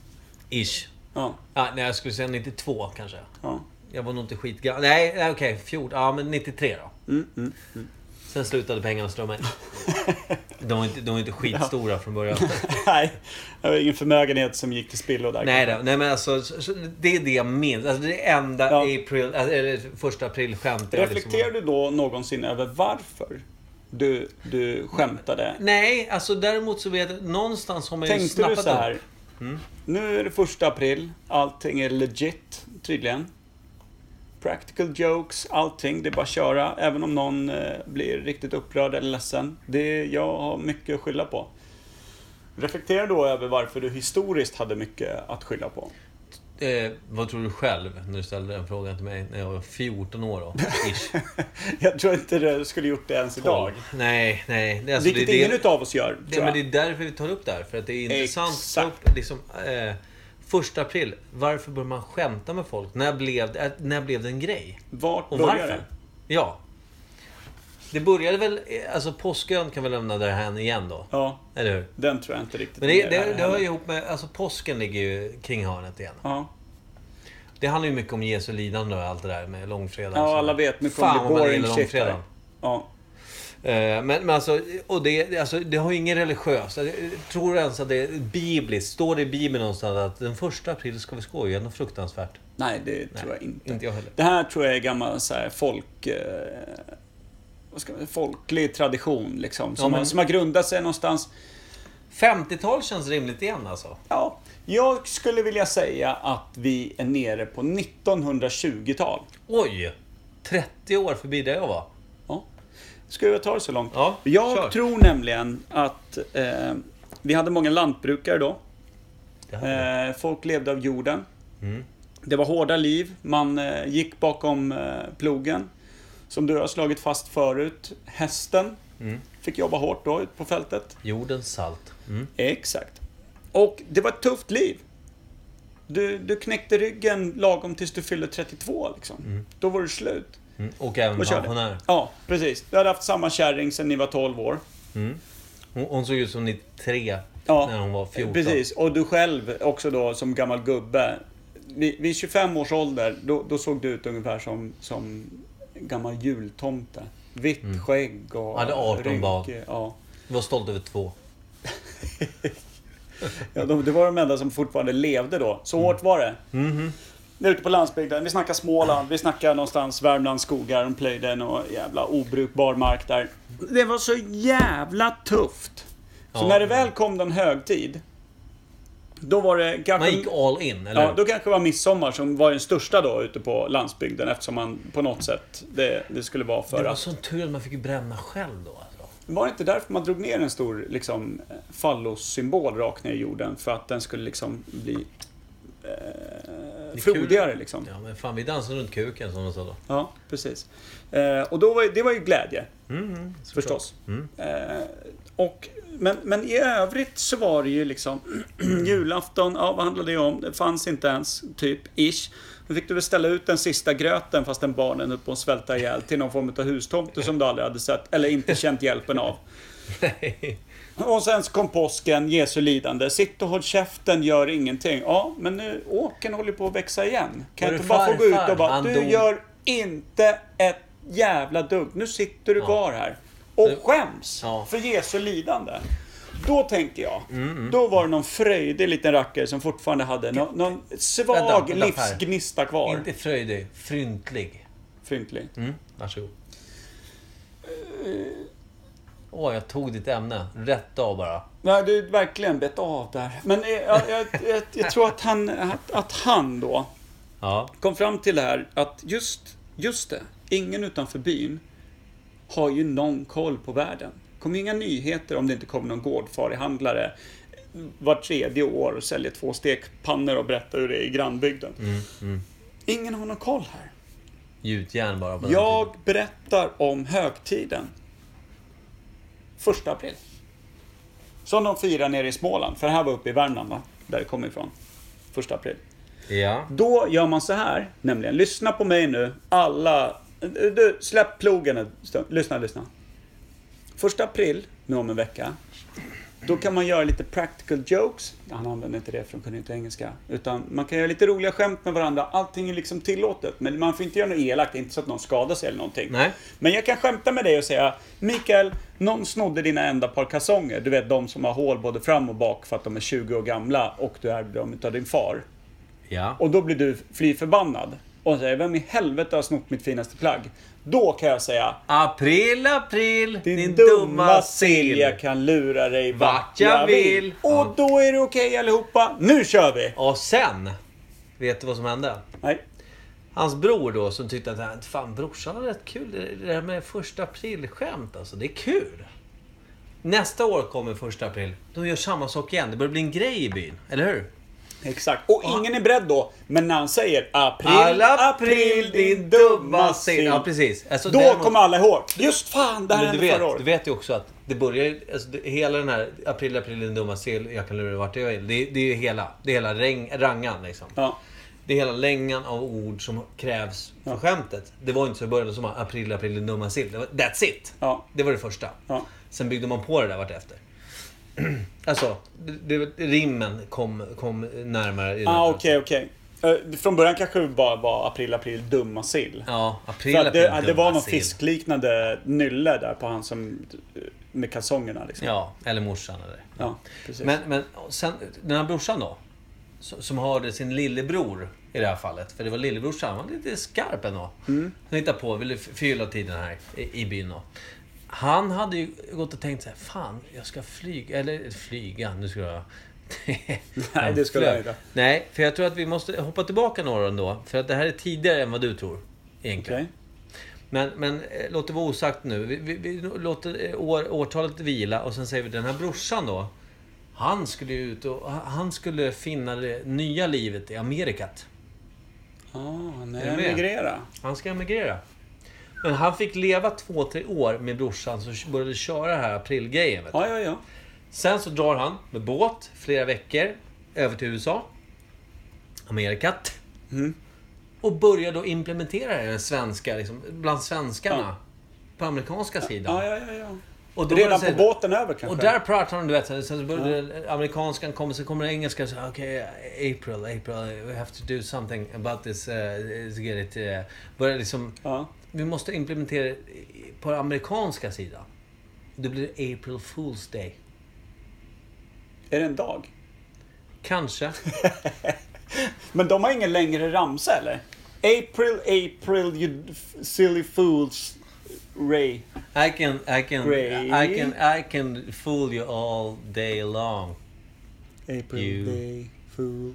B: Ish.
A: Ja.
B: Ja, nej, jag skulle säga 92 kanske.
A: ja.
B: Jag var nog inte skitgammal. Nej, nej, okej. 14. Ja, men 93 då.
A: Mm,
B: Sen slutade pengarna strömma in. De var inte, de var inte skitstora från början.
A: Nej, det var ingen förmögenhet som gick till spillo där.
B: Nej, då, nej men alltså, så, så, det är det jag minns. Alltså, det är enda
A: Ja.
B: april, alltså, eller första april-skämt jag liksom
A: Reflekterar du då någonsin över varför du, du skämtade?
B: Nej, alltså däremot så vet jag, någonstans har man ju
A: Tänkte du
B: snappat
A: så här? Mm.
B: upp.
A: Nu är det första april, allting är legit tydligen. Practical jokes, allting, det är bara att köra. Även om någon eh, blir riktigt upprörd eller ledsen. Det, jag har mycket att skylla på. Reflektera då över varför du historiskt hade mycket att skylla på.
B: Eh, vad tror du själv när du ställde den frågan till mig när jag var 14 år då? Ish.
A: Jag tror inte du skulle gjort det ens idag.
B: Nej, nej. Det, är alltså,
A: Vilket
B: det, är
A: ingen
B: det,
A: utav oss gör,
B: det,
A: tror
B: men
A: jag.
B: det är därför vi tar upp det här. För att det är intressant. att ta
A: Exakt.
B: Upp, liksom, eh, första april. Varför bör man skämta med folk? När blev, det- när blev det en grej?
A: Vart
B: Och
A: börjar
B: varför?
A: det?
B: Ja. Det började väl... Alltså påskön kan vi lämna därhän igen då.
A: Ja,
B: Eller hur?
A: den tror jag inte riktigt
B: Men det,
A: är
B: det,
A: här
B: det hör ju
A: heller.
B: ihop med... Alltså påsken ligger ju kring hörnet igen.
A: Ja.
B: Det handlar ju mycket om Jesu lidande och allt det där med långfredagen.
A: ja,
B: Så-
A: alla vet. Nu kommer
B: Fan
A: det
B: vad man
A: boring
B: gillar
A: shit här.
B: långfredagen.
A: Ja.
B: Eh, Men, men alltså, och det, alltså, det har ju ingen religiös... alltså, Tror du ens att det är bibliskt? Står det i Bibeln någonstans att den första april ska vi skoja? Något fruktansvärt.
A: Nej, det tror jag inte.
B: Inte jag heller.
A: Det här tror jag är gammal så här, folk... Eh, vad ska man, folklig tradition liksom. Som,
B: Ja, men-
A: har, som har grundat sig någonstans.
B: 50-tal känns rimligt igen alltså.
A: Ja, jag skulle vilja säga att vi är nere på 1920-tal.
B: Oj! 30 år förbi där jag var.
A: Ja. Ska jag ta det så långt?
B: Ja,
A: jag
B: kör.
A: tror nämligen att eh, vi hade många lantbrukare då.
B: Det hade jag.
A: Eh, folk levde av jorden. Det var hårda liv. Man eh, gick bakom eh, plogen. Som du har slagit fast förut, hästen fick jobba hårt då ute på fältet.
B: Jordens salt. Mm.
A: Exakt. Och det var ett tufft liv. Du, du knäckte ryggen lagom tills du fyllde 32 liksom. Då var du slut.
B: Mm. Och även
A: Och
B: pensionär.
A: körde. Ja, precis. Du hade haft samma kärring sedan ni var 12 år.
B: Hon, hon såg ut som 93
A: Ja,
B: när hon var 14.
A: Eh, Precis, och du själv också då som gammal gubbe. Vid, vid 25 års ålder, då, då såg du ut ungefär som, som en gammal jultomte. Vitt
B: Mm.
A: skägg och...
B: Hade 18
A: rynkig-
B: barn.
A: Ja.
B: Var stolt över två.
A: Ja, de, det var de enda som fortfarande levde då. Så hårt var det. Mm.
B: Mm-hmm.
A: Ute på landsbygden, vi snackar Småland, vi snackar någonstans Värmlands skogar, de plöjde och jävla obrukbar mark där. Det var så jävla tufft. Så
B: Ja.
A: när det väl kom den högtid, då var det kanske...
B: Man gick all in, eller
A: Ja,
B: hur?
A: då kanske det var midsommar som var den största då ute på landsbygden eftersom man på något sätt, det, det skulle vara för
B: Det var
A: att...
B: sån tur att man fick ju bränna själv då. Alltså.
A: Var det inte därför man drog ner en stor liksom, fallossymbol rakt ner i jorden? För att den skulle liksom bli
B: kul.
A: eh, frodigare liksom.
B: Ja, men fan, vi dansade runt kuken som de sa då.
A: Ja, precis. Eh, och då var, ju- det var ju glädje, förstås. Eh, och, men, men i övrigt så var det ju liksom julafton, ja vad handlade det om? Det fanns inte ens, typ, ish. Då fick du väl ställa ut den sista gröten fastän barnen höll på att svälta ihjäl till någon form av hustomte som du aldrig hade sett eller inte känt hjälpen av.
B: Nej.
A: Och sen så kom påsken, Jesu lidande. Sitt och håll käften, gör ingenting. Ja, men nu åken håller på att växa igen. Kan
B: Var
A: jag inte
B: det
A: bara få gå ut
B: farfar?
A: och bara,
B: Han
A: du
B: dog."
A: gör inte ett jävla dugg. Nu sitter du kvar här och skäms
B: Ja. Mm,
A: för Jesu lidande. Då tänker jag, då var det någon fröjdig liten rackare som fortfarande hade någon, någon svag
B: Vänta, vänta, Per.
A: livsgnista kvar.
B: Inte fröjdig. Fryntlig.
A: Fryntlig.
B: Mm, varsågod. Åh, jag tog ditt ämne. Rätt av bara.
A: Nej, du är verkligen bett av där. Men eh, jag, jag, jag, jag tror att han, att, att han då,
B: Ja.
A: kom fram till det här att just, just det, ingen utanför byn har ju någon koll på världen. Det kommer inga nyheter om det inte kommer någon gårdfarihandlare var tredje år och säljer två stekpannor och berättar hur det är i grannbygden. Ingen har någon koll här.
B: Gjutjärn bara. på den
A: Jag berättar om högtiden. Första april. Som de firar nere i Småland, för det här var uppe i Värmland va? Där det kommer ifrån. Första april.
B: tiden. Ja.
A: Då gör man så här, nämligen. Lyssna på mig nu, alla. Du, släpp plogen en stund. Lyssna, lyssna. Första april, nu om en vecka, då kan man göra lite practical jokes. Han använde inte det för de kunde inte engelska. Utan man kan göra lite roliga skämt med varandra. Allting är liksom tillåtet. Men man får inte göra något elakt, inte så att någon skadar sig eller någonting.
B: Nej.
A: Men jag kan skämta med dig och säga, Mikael, någon snodde dina enda par kalsonger. Du vet de som har hål både fram och bak för att de är 20 år gamla och du ärvde dem utav din far.
B: Ja.
A: Och då blir du fly förbannad. Och säger, vem i helvete har snott mitt finaste plagg? Då kan jag säga,
B: April, april,
A: din, dumma sill, jag kan lura dig vart jag vill. Och
B: Ja.
A: då är det okej allihopa, nu kör vi!
B: Och sen, vet du vad som hände?
A: Nej,
B: Hans bror då som tyckte att "Äh, fan brorsan har rätt kul. Det- Det här med första april-skämt alltså, det är kul. Nästa år kommer första april. De gör samma sak igen. Det börjar bli en grej i byn, eller hur?
A: exakt. Och ingen är beredd då, men när han säger april,
B: Alla april, din dumma sill. Ja, precis. Alltså,
A: Då
B: däremot-
A: kommer alla ihåg. Just fan, det här
B: Men du
A: hände förra
B: vet,
A: året.
B: du vet ju också att det börjar ju- alltså, det, Hela den här april, april, din dumma sill, jag kan lura dig vart jag vill. Det, det är ju hela, det är hela reng, rangan liksom.
A: Ja.
B: Det är hela längan av ord som krävs för skämtet. Det var inte så i början som bara, april, april, din dumma sill. Det var, that's it!
A: Ja.
B: Det var det första.
A: Ja.
B: Sen byggde man på det där vartefter. alltså, det, det, rimmen kom, kom närmare. i den
A: Ah,
B: här
A: okej, okej. Eh, Från början kanske det bara var april, april, dumma sill.
B: Ja, april,
A: För att
B: april,
A: det, det
B: dumma
A: var någon
B: sill.
A: fiskliknande nylle där på han som med kalsongerna liksom.
B: Ja, eller morsan eller.
A: Ja, precis.
B: Men, men sen, den här brorsan då? s- Som hörde sin lillebror i det här fallet. För det var lillebrorsan. Han var lite skarp ändå. Mm. Han hittade på, ville f- förgylla tiden här i, i byn då. Han hade ju gått och tänkt så här, fan jag ska flyga, eller flyga, nu ska jag...
A: Nej, det skulle jag inte.
B: Nej, för jag tror att vi måste hoppa tillbaka några år ändå. För att det här är tidigare än vad du tror. Egentligen.
A: Okej.
B: Men, men eh, låt det vara osagt nu. Vi, vi, vi låter eh, år, årtalet vila och sen säger vi den här brorsan då. Han skulle ju ut och ha- han skulle finna det nya livet i Amerikat.
A: Ah, nej,
B: Är du med?
A: emigrera.
B: Han ska emigrera. Men han fick leva två, tre år med brorsan som började köra här aprilgrejen. vet du.
A: Ja, ja, ja.
B: Sen så drar han med båt flera veckor över till USA. Amerikat.
A: Mm.
B: Och börjar då implementera det här i den svenska, liksom, bland svenskarna.
A: Ja.
B: På amerikanska sidan.
A: ja, ja, ja, ja.
B: Och då var det
A: Redan
B: så
A: på
B: här-
A: båten över kanske?
B: Och där pratar de, du vet, sen så började amerikanskan komma, sen kommer det engelska. så, Okej, April, April, we have to do something about this. Uh, to get it, uh, börjar liksom,
A: Ja.
B: Vi måste implementera det i- på den amerikanska sidan. Då blir det April Fool's Day.
A: Är det en dag?
B: Kanske.
A: Men de har ingen längre ramsa eller? April, April, you f- silly fools. Ray.
B: I can, I can,
A: Great.
B: I can, I can fool you all day long.
A: April
B: You.
A: day, fool.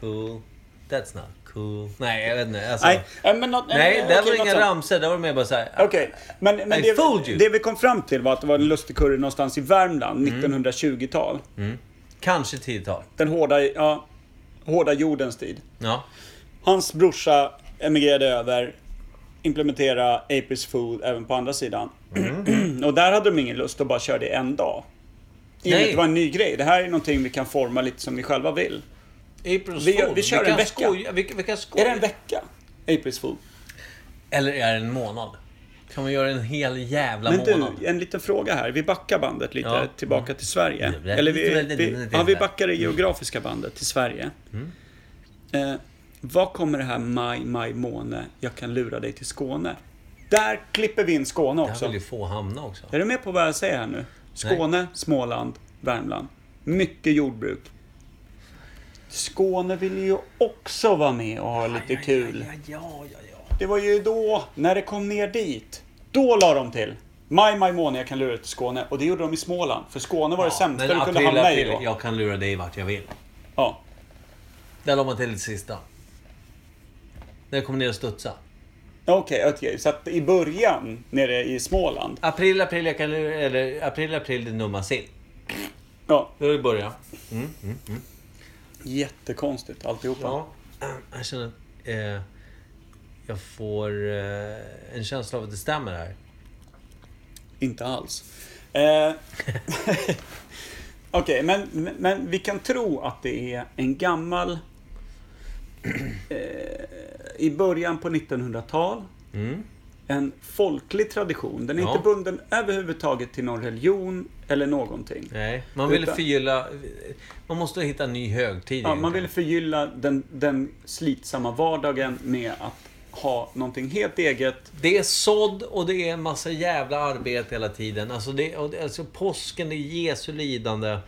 B: Fool. That's not cool. Nej, jag vet inte. Alltså,
A: Nej, äh, men något,
B: nej,
A: äh,
B: där
A: okej,
B: var det
A: något
B: inga
A: sånt.
B: ramsor. Där var det mer bara såhär.
A: Okej, men, men
B: I
A: det,
B: fooled you. Mm.
A: det vi kom fram till var att det var en lustigkurre någonstans i Värmland, 1920-tal.
B: Kanske tiotal.
A: Den hårda, ja, hårda jordens tid.
B: Ja.
A: Hans brorsa emigrerade över, implementera Apis Fool även på andra sidan.
B: Mm.
A: och där hade de ingen lust att bara köra det en dag. I och med
B: Nej.
A: att Det var en ny grej. Det här är någonting vi kan forma lite som vi själva vill.
B: Aprils
A: Vi gör-
B: Fool.
A: vi kör en
B: kan
A: vecka.
B: Skoja, vi, kan- vi kan skoja.
A: Är det en vecka? Apis Fool.
B: Eller är det en månad? Kan man göra en hel jävla
A: Men du,
B: månad?
A: en liten fråga här. Vi backar bandet lite
B: Ja.
A: tillbaka till Sverige.
B: Mm.
A: Eller vi, vi, ja, vi backar det geografiska bandet till Sverige.
B: Mm.
A: Eh, vad kommer det här maj, maj, måne, jag kan lura dig till Skåne? Där klipper vi in Skåne
B: Där vill
A: också.
B: ju få hamna också.
A: Är du med på vad jag säger här nu? Skåne, Småland, Värmland. Mycket jordbruk. Skåne vill ju också vara med och ha lite kul.
B: Ja, ja, ja, ja.
A: Det var ju då, när det kom ner dit, då la de till. Maj, maj måne, jag kan lura dig till Skåne. Och det gjorde de i Småland, för Skåne var det sämsta
B: men
A: du kunde
B: april,
A: hamna
B: april,
A: i då.
B: Jag kan lura dig vart jag vill.
A: Ja.
B: Där la man till det sista. När jag kom ner och studsa.
A: Okej, okej. Så att i början, nere i Småland.
B: April, april, jag kan lura... Eller april, april, det numma sill.
A: Ja,
B: Då är det börja.
A: jättekonstigt alltihopa.
B: Ja. Jag känner att eh, jag får eh, en känsla av att det stämmer här.
A: Inte alls. Eh, Okej, men, men vi kan tro att det är en gammal... Eh, I början på 1900-tal.
B: Mm.
A: En folklig tradition. Den är
B: Ja.
A: inte bunden överhuvudtaget till någon religion eller någonting.
B: Nej, man vill
A: Utan-
B: förgylla... Man måste hitta en ny högtid.
A: Ja, man
B: egentligen.
A: vill förgylla den, den slitsamma vardagen med att ha någonting helt eget.
B: Det är sådd och det är en massa jävla arbete hela tiden. Alltså, det, och det- alltså påsken, det är Jesu lidande.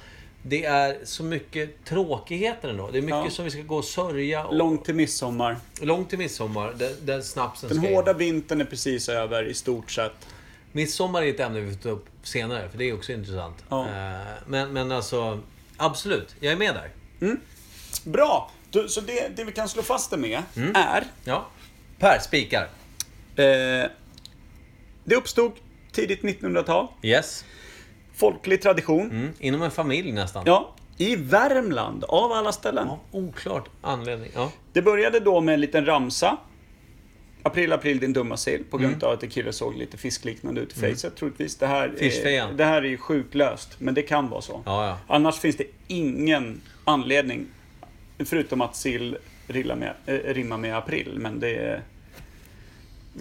B: Det är så mycket tråkigheter ändå. Det är mycket
A: Ja.
B: som vi ska gå och sörja. Och,
A: Långt till midsommar.
B: långt till midsommar, där, där snapsen
A: Den
B: ska
A: hårda
B: in.
A: vintern är precis över i stort sett.
B: Midsommar är ett ämne vi får ta upp senare, för det är också intressant.
A: Ja.
B: Eh, Men, men alltså, absolut. Jag är med där.
A: Bra! Du, så det, det vi kan slå fast det med
B: Mm.
A: är...
B: Ja. Per, spikar.
A: Eh, det uppstod tidigt 1900-tal.
B: Yes.
A: Folklig tradition.
B: Mm. Inom en familj nästan.
A: Ja, I Värmland, av alla ställen.
B: Av Oklart anledning. Ja.
A: Det började då med en liten ramsa. April, april, din dumma sill. På
B: Mm.
A: grund av att en kille såg lite fiskliknande ut i fejset troligtvis. Det här, är,
B: Fiskfejan.
A: det här är ju sjuklöst, men det kan vara så.
B: Ja, ja.
A: Annars finns det ingen anledning, förutom att sill rillar med, eh, rimmar med april. Men det är,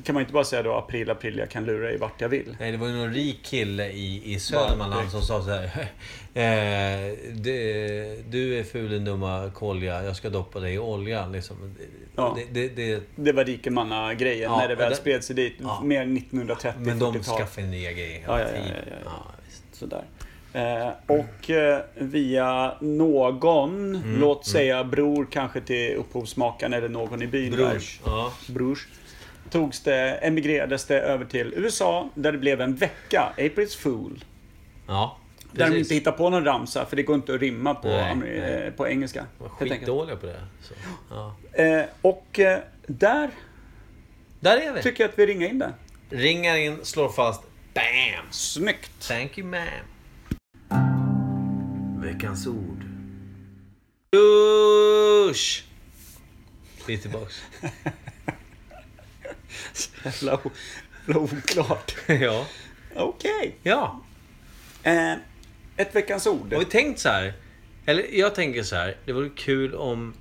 A: kan man ju inte bara säga då april, april, jag kan lura dig vart jag vill.
B: Nej, det var ju någon rik kille i, i Södermanland som sa så här. Eh, du, du är ful din dumma kolja, jag ska doppa dig i olja. Liksom.
A: Ja.
B: Det, det, det,
A: Det var rikemanna-grejen
B: Ja,
A: när det väl
B: det-
A: spred sig dit.
B: ja.
A: Mer 1930
B: men de
A: 40-tal.
B: skaffade nya grejer
A: Ja,
B: hela
A: ja, ja,
B: tiden.
A: ja, ja, ja.
B: visst.
A: Sådär. Eh, och eh, via någon,
B: Mm.
A: låt säga bror kanske till upphovsmakaren eller någon i byn
B: Brors.
A: där,
B: Ja.
A: brors togs det, emigrerades det över till USA där det blev en vecka, April's Fool.
B: ja.
A: Där de
B: precis.
A: inte hittar på någon ramsa för det går inte att rimma på,
B: Nej,
A: amer-
B: nej.
A: eh, på engelska.
B: De var
A: helt enkelt.
B: skitdåliga på det. Så. Ja.
A: Eh, och eh, där
B: Där är vi!
A: tycker jag att vi ringar in det.
B: Ringar in, slår fast. Bam!
A: Snyggt!
B: Thank you ma'am. Veckans ord. Dusch! Vi är tillbaks.
A: Jävla o- jävla oklart.
B: ja.
A: Okej.
B: Ja.
A: Eh, ett veckans ord.
B: Har vi tänkt så här? Eller jag tänker så här. Det vore kul om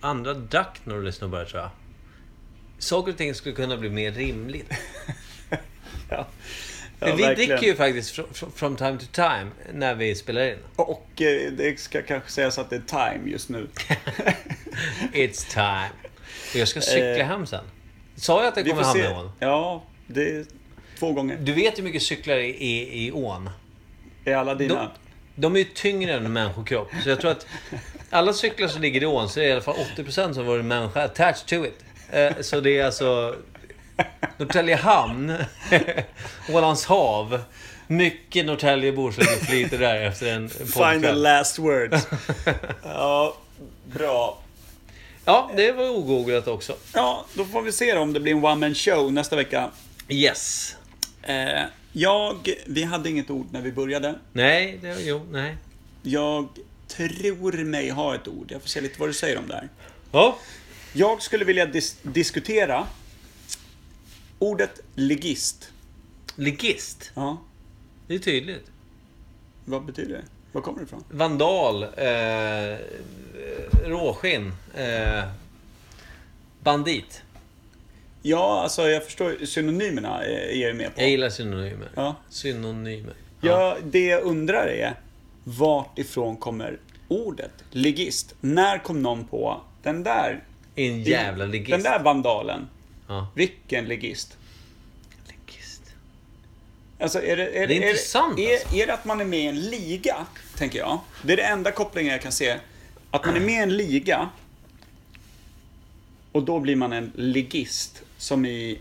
B: andra drack när de lyssnade på det här, tror jag. Saker och ting skulle kunna bli mer rimligt.
A: Ja. Ja,
B: Men vi
A: verkligen.
B: dricker ju faktiskt fr- fr- from time to time när vi spelar in.
A: Och eh, det ska kanske sägas att det är time just nu.
B: It's time. Och jag ska cykla
A: Eh,
B: hem sen. Sa jag att jag kommer hamna i ån?
A: Ja, det är två gånger.
B: Du vet hur mycket cyklar är i, i ån?
A: Är alla
B: De,
A: dina?
B: de är ju tyngre än en människokropp. Så jag tror att alla cyklar som ligger i ån så är det i alla fall 80% som varit människa attached to it. Eh, Så det är alltså Norrtälje hamn, Ålands hav. Mycket Norrtäljebor som flyter där efter en
A: Final
B: poddkväll.
A: last words. ja, bra.
B: Ja, det var ogooglat också.
A: Ja, då får vi se då om det blir en one man show nästa vecka.
B: Yes.
A: Eh, jag, vi hade inget ord när vi började.
B: Nej, det, jo, nej.
A: Jag tror mig ha ett ord. Jag får se lite vad du säger om det här.
B: Ja.
A: Jag skulle vilja dis- diskutera ordet ligist.
B: Ligist.
A: Ja,
B: Det är tydligt.
A: vad betyder det? Var kommer det ifrån?
B: Vandal. Eh, råskinn. Eh, bandit.
A: Ja, alltså jag förstår. Synonymerna är är jag ju med på.
B: Jag gillar synonymer.
A: Ja.
B: Synonymer.
A: Ja, det jag undrar är vart ifrån kommer ordet ligist? När kom någon på den där?
B: En jävla ligist.
A: Den där vandalen.
B: Ja.
A: Vilken ligist?
B: Ligist.
A: Alltså är det, är,
B: Det är
A: är,
B: intressant,
A: är,
B: alltså.
A: är det att man är med i en liga, tänker jag. Det är det enda kopplingen jag kan se. Att man är med i en liga och då blir man en ligist. Som i...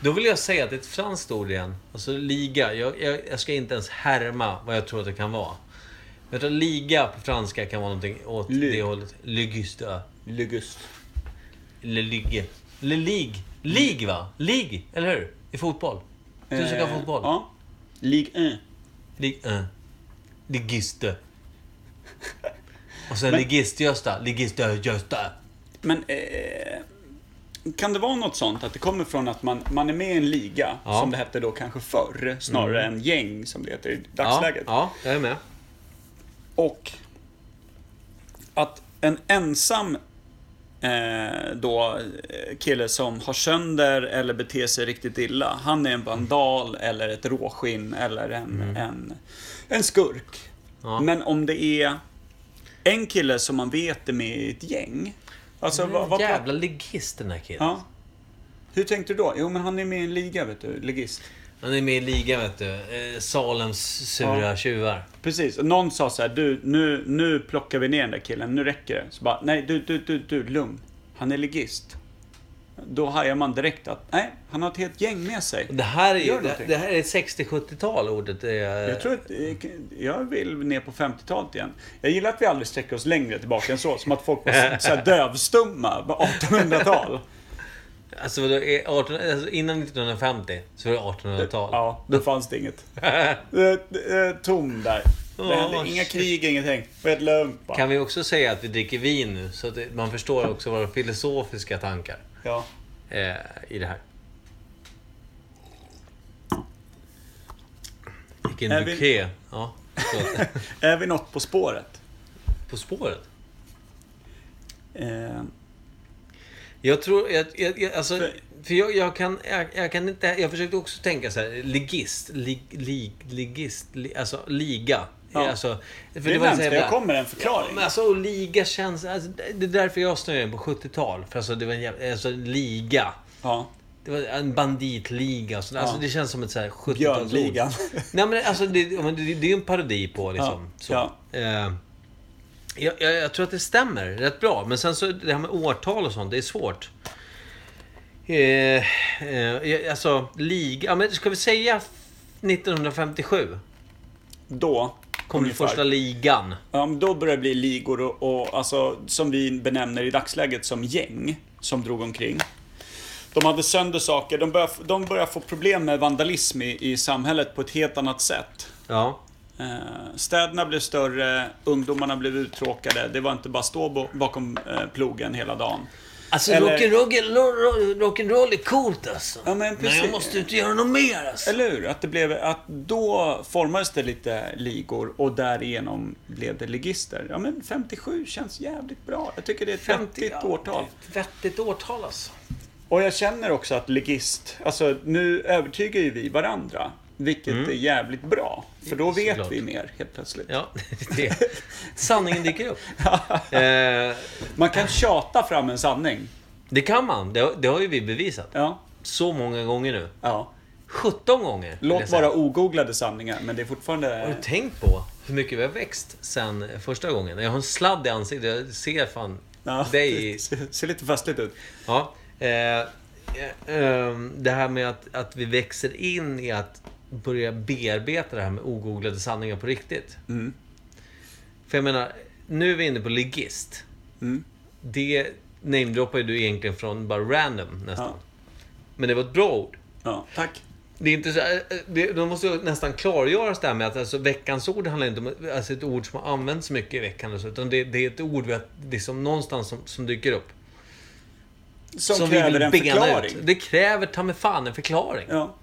B: Då vill jag säga att det är ett franskt ord igen. Alltså liga. Jag, jag, jag ska inte ens härma vad jag tror att det kan vara. Jag tror att liga på franska kan vara någonting åt
A: Lig.
B: det hållet. Ligista.
A: Ligist.
B: Le ligue. Le ligue. Lig va? Lig, eller hur? I fotboll. Du som kan fotboll.
A: Eh, Ja. E. Ligue 1.
B: Lig, eh. Ligiste. Och sen ligist-Gösta. Ligist-Gösta.
A: Men eh, kan det vara något sånt att det kommer från att man, man är med i en liga,
B: Ja. Mm.
A: som det hette då kanske förr, snarare än gäng som det heter i
B: Ja,
A: dagsläget.
B: ja, jag är med.
A: Och att en ensam eh, då, eh, kille som har sönder eller beter sig riktigt illa, han
B: Mm.
A: är en vandal eller ett råskinn eller en, en, en skurk.
B: Ja.
A: Men om det är en kille som man vet är med i ett gäng. Alltså, vad, vad pratar-
B: Jävla ligist den här killen.
A: Ja. Hur tänkte du då? Jo, men han är med i en liga, vet du. Ligist.
B: Han är med i ligan vet du. Eh, Salems sura
A: Ja.
B: tjuvar.
A: Precis. Och Någon sa så här, du, nu, nu plockar vi ner den där killen, nu räcker det. Så bara, nej, du, du, du, du, lugn. Han är ligist. Då hajar man direkt att, nej, han har ett helt gäng med sig.
B: Det här är
A: Gör
B: ju, det,
A: någonting.
B: det här är 60-70-tal ordet. eh,
A: Jag tror att, eh, jag vill ner på 50-talet igen. Jag gillar att vi aldrig sträcker oss längre tillbaka än så. Som att folk var så här dövstumma på 1800-tal.
B: Alltså, vadå, är 18, alltså innan 1950 så var det 1800-tal.
A: Ja, då fanns det inget. Eh, eh, Tom där. Det
B: Åh,
A: hände inga
B: shit.
A: krig, ingenting. Det var Helt lugnt bara.
B: Kan vi också säga att vi dricker vin nu så att det- man förstår också våra filosofiska tankar
A: Ja.
B: eh, i det här. Vilken
A: Är vi-
B: buké. Ja, förlåt.
A: Är vi något på spåret?
B: på spåret.
A: Eh,
B: Jag tror, jag, jag, jag, alltså,
A: För-
B: för jag, jag kan, jag, jag kan inte, jag försökte också tänka så här, ligist, lig, lig, ligist, li, alltså liga.
A: Ja.
B: Alltså, för
A: det
B: var
A: är
B: så
A: närmast
B: jävla-
A: jag kommer en
B: Ja,
A: förklaring.
B: men alltså och liga känns, alltså, det det är därför jag snöade in på 70-tal. För alltså det var en jävla, alltså en liga.
A: Ja.
B: Det var en banditliga och sånt. Alltså
A: Ja.
B: det känns som ett så här 70-talsord.
A: Björnligan.
B: Nej men alltså det, ja, men det, det är ju en parodi på liksom.
A: Ja,
B: Så.
A: ja.
B: Eh, jag, jag, jag tror att det stämmer rätt bra. Men sen så det här med årtal och sånt, det är svårt. Eh, eh, jag- alltså liga, ja, men ska vi säga 1957?
A: Då.
B: Kom den
A: ungefär.
B: första ligan.
A: Ja, men då börjar det bli ligor och, och alltså, som vi benämner i dagsläget som gäng som drog omkring. De hade sönder saker. De började, de började få problem med vandalism i, i samhället på ett helt annat sätt.
B: Ja.
A: Eh, Städerna blev större, ungdomarna blev uttråkade. Det var inte bara stå bo- bakom eh, plogen hela dagen.
B: Alltså
A: Eller-
B: rock'n'roll rock, rock'n'roll är coolt alltså.
A: Ja, men precis.
B: jag måste inte göra något mer alltså.
A: Eller hur? Att det blev, att då formades det lite ligor och därigenom blev det ligister. Ja men 57 känns jävligt bra. Jag tycker det är ett
B: 50
A: vettigt årtal.
B: Vettigt årtal alltså.
A: Och jag känner också att ligist, alltså nu övertygar ju vi varandra. Vilket är jävligt bra. För då vet
B: Mm. Såklart.
A: vi mer helt plötsligt.
B: Ja, det. Sanningen dyker upp. eh,
A: Man kan tjata fram en sanning.
B: det kan man. Det, har- det har ju vi bevisat.
A: Ja.
B: Så många gånger nu.
A: ja.
B: 17 gånger. vill jag
A: Låt
B: säga.
A: vara ogooglade sanningar, men det är fortfarande...
B: Har du tänkt på hur mycket vi har växt sen första gången? Jag har en sladd i ansiktet. Jag ser fan
A: Ja,
B: dig i
A: ser- ser lite festligt ut.
B: Ja. Eh, eh, ehm, det här med att, att vi växer in i att börja bearbeta det här med ogooglade sanningar på riktigt. För jag menar, nu är vi inne på ligist. Det namedroppar ju du egentligen från bara random nästan.
A: Ja.
B: Men det var ett bra ord.
A: Ja, tack.
B: Det är inte så, eh, eh, det, de måste ju nästan klargöras det här med att alltså, veckans ord handlar inte om alltså, ett ord som har använts så mycket i veckan. och så, Utan det, det är ett ord vi har, liksom, någonstans som, som dyker upp
A: Som, kräver
B: bena
A: en förklaring.
B: Ut. Det kräver ta mig fan en förklaring.
A: Ja.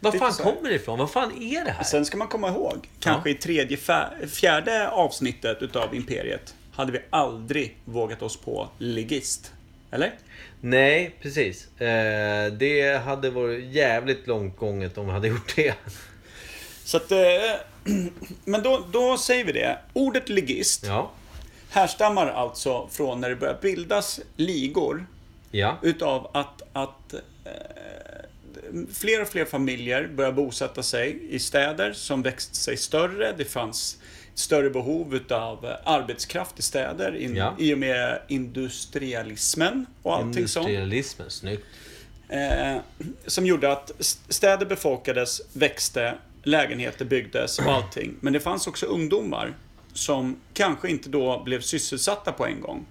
B: Var
A: det är
B: fan
A: så här. Alltså-
B: kommer det ifrån? Vad fan är det här?
A: Sen ska man komma ihåg, kanske i tredje, fä- fjärde avsnittet utav Imperiet hade vi aldrig vågat oss på ligist. Eller?
B: Nej, precis. Eh, det hade varit jävligt långt gånget om vi hade gjort det.
A: Så att, eh, men då, då säger vi det. Ordet ligist
B: Ja.
A: härstammar alltså från när det börjar bildas ligor
B: Ja.
A: utav att, att eh, fler och fler familjer börjar bosätta sig i städer som växt sig större. Det fanns större behov utav eh, arbetskraft i städer in,
B: Ja.
A: i och med industrialismen och allting sånt.
B: Industrialismen, snyggt.
A: Eh, som gjorde att s- städer befolkades, växte, lägenheter byggdes och allting. Men det fanns också ungdomar som kanske inte då blev sysselsatta på en gång.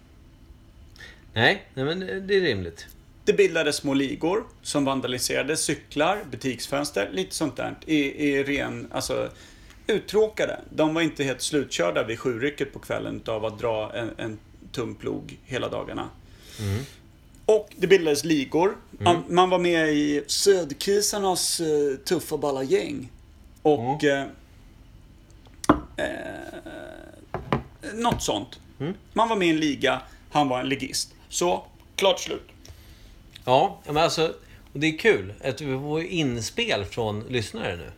B: Nej, nej men det- det är rimligt.
A: Det bildades små ligor som vandaliserade cyklar, butiksfönster, lite sånt där. I, i ren, alltså uttråkade. De var inte helt slutkörda vid sjurycket på kvällen av att dra en, en tum plog hela dagarna. Och det bildades ligor. Man, man var med i Södkisarnas eh, tuffa balla gäng. Och... Eh, eh, något sånt. Man var med i en liga, han var en ligist. Så, klart slut.
B: Ja, men alltså. Och det är kul att vi får ju inspel från lyssnare nu.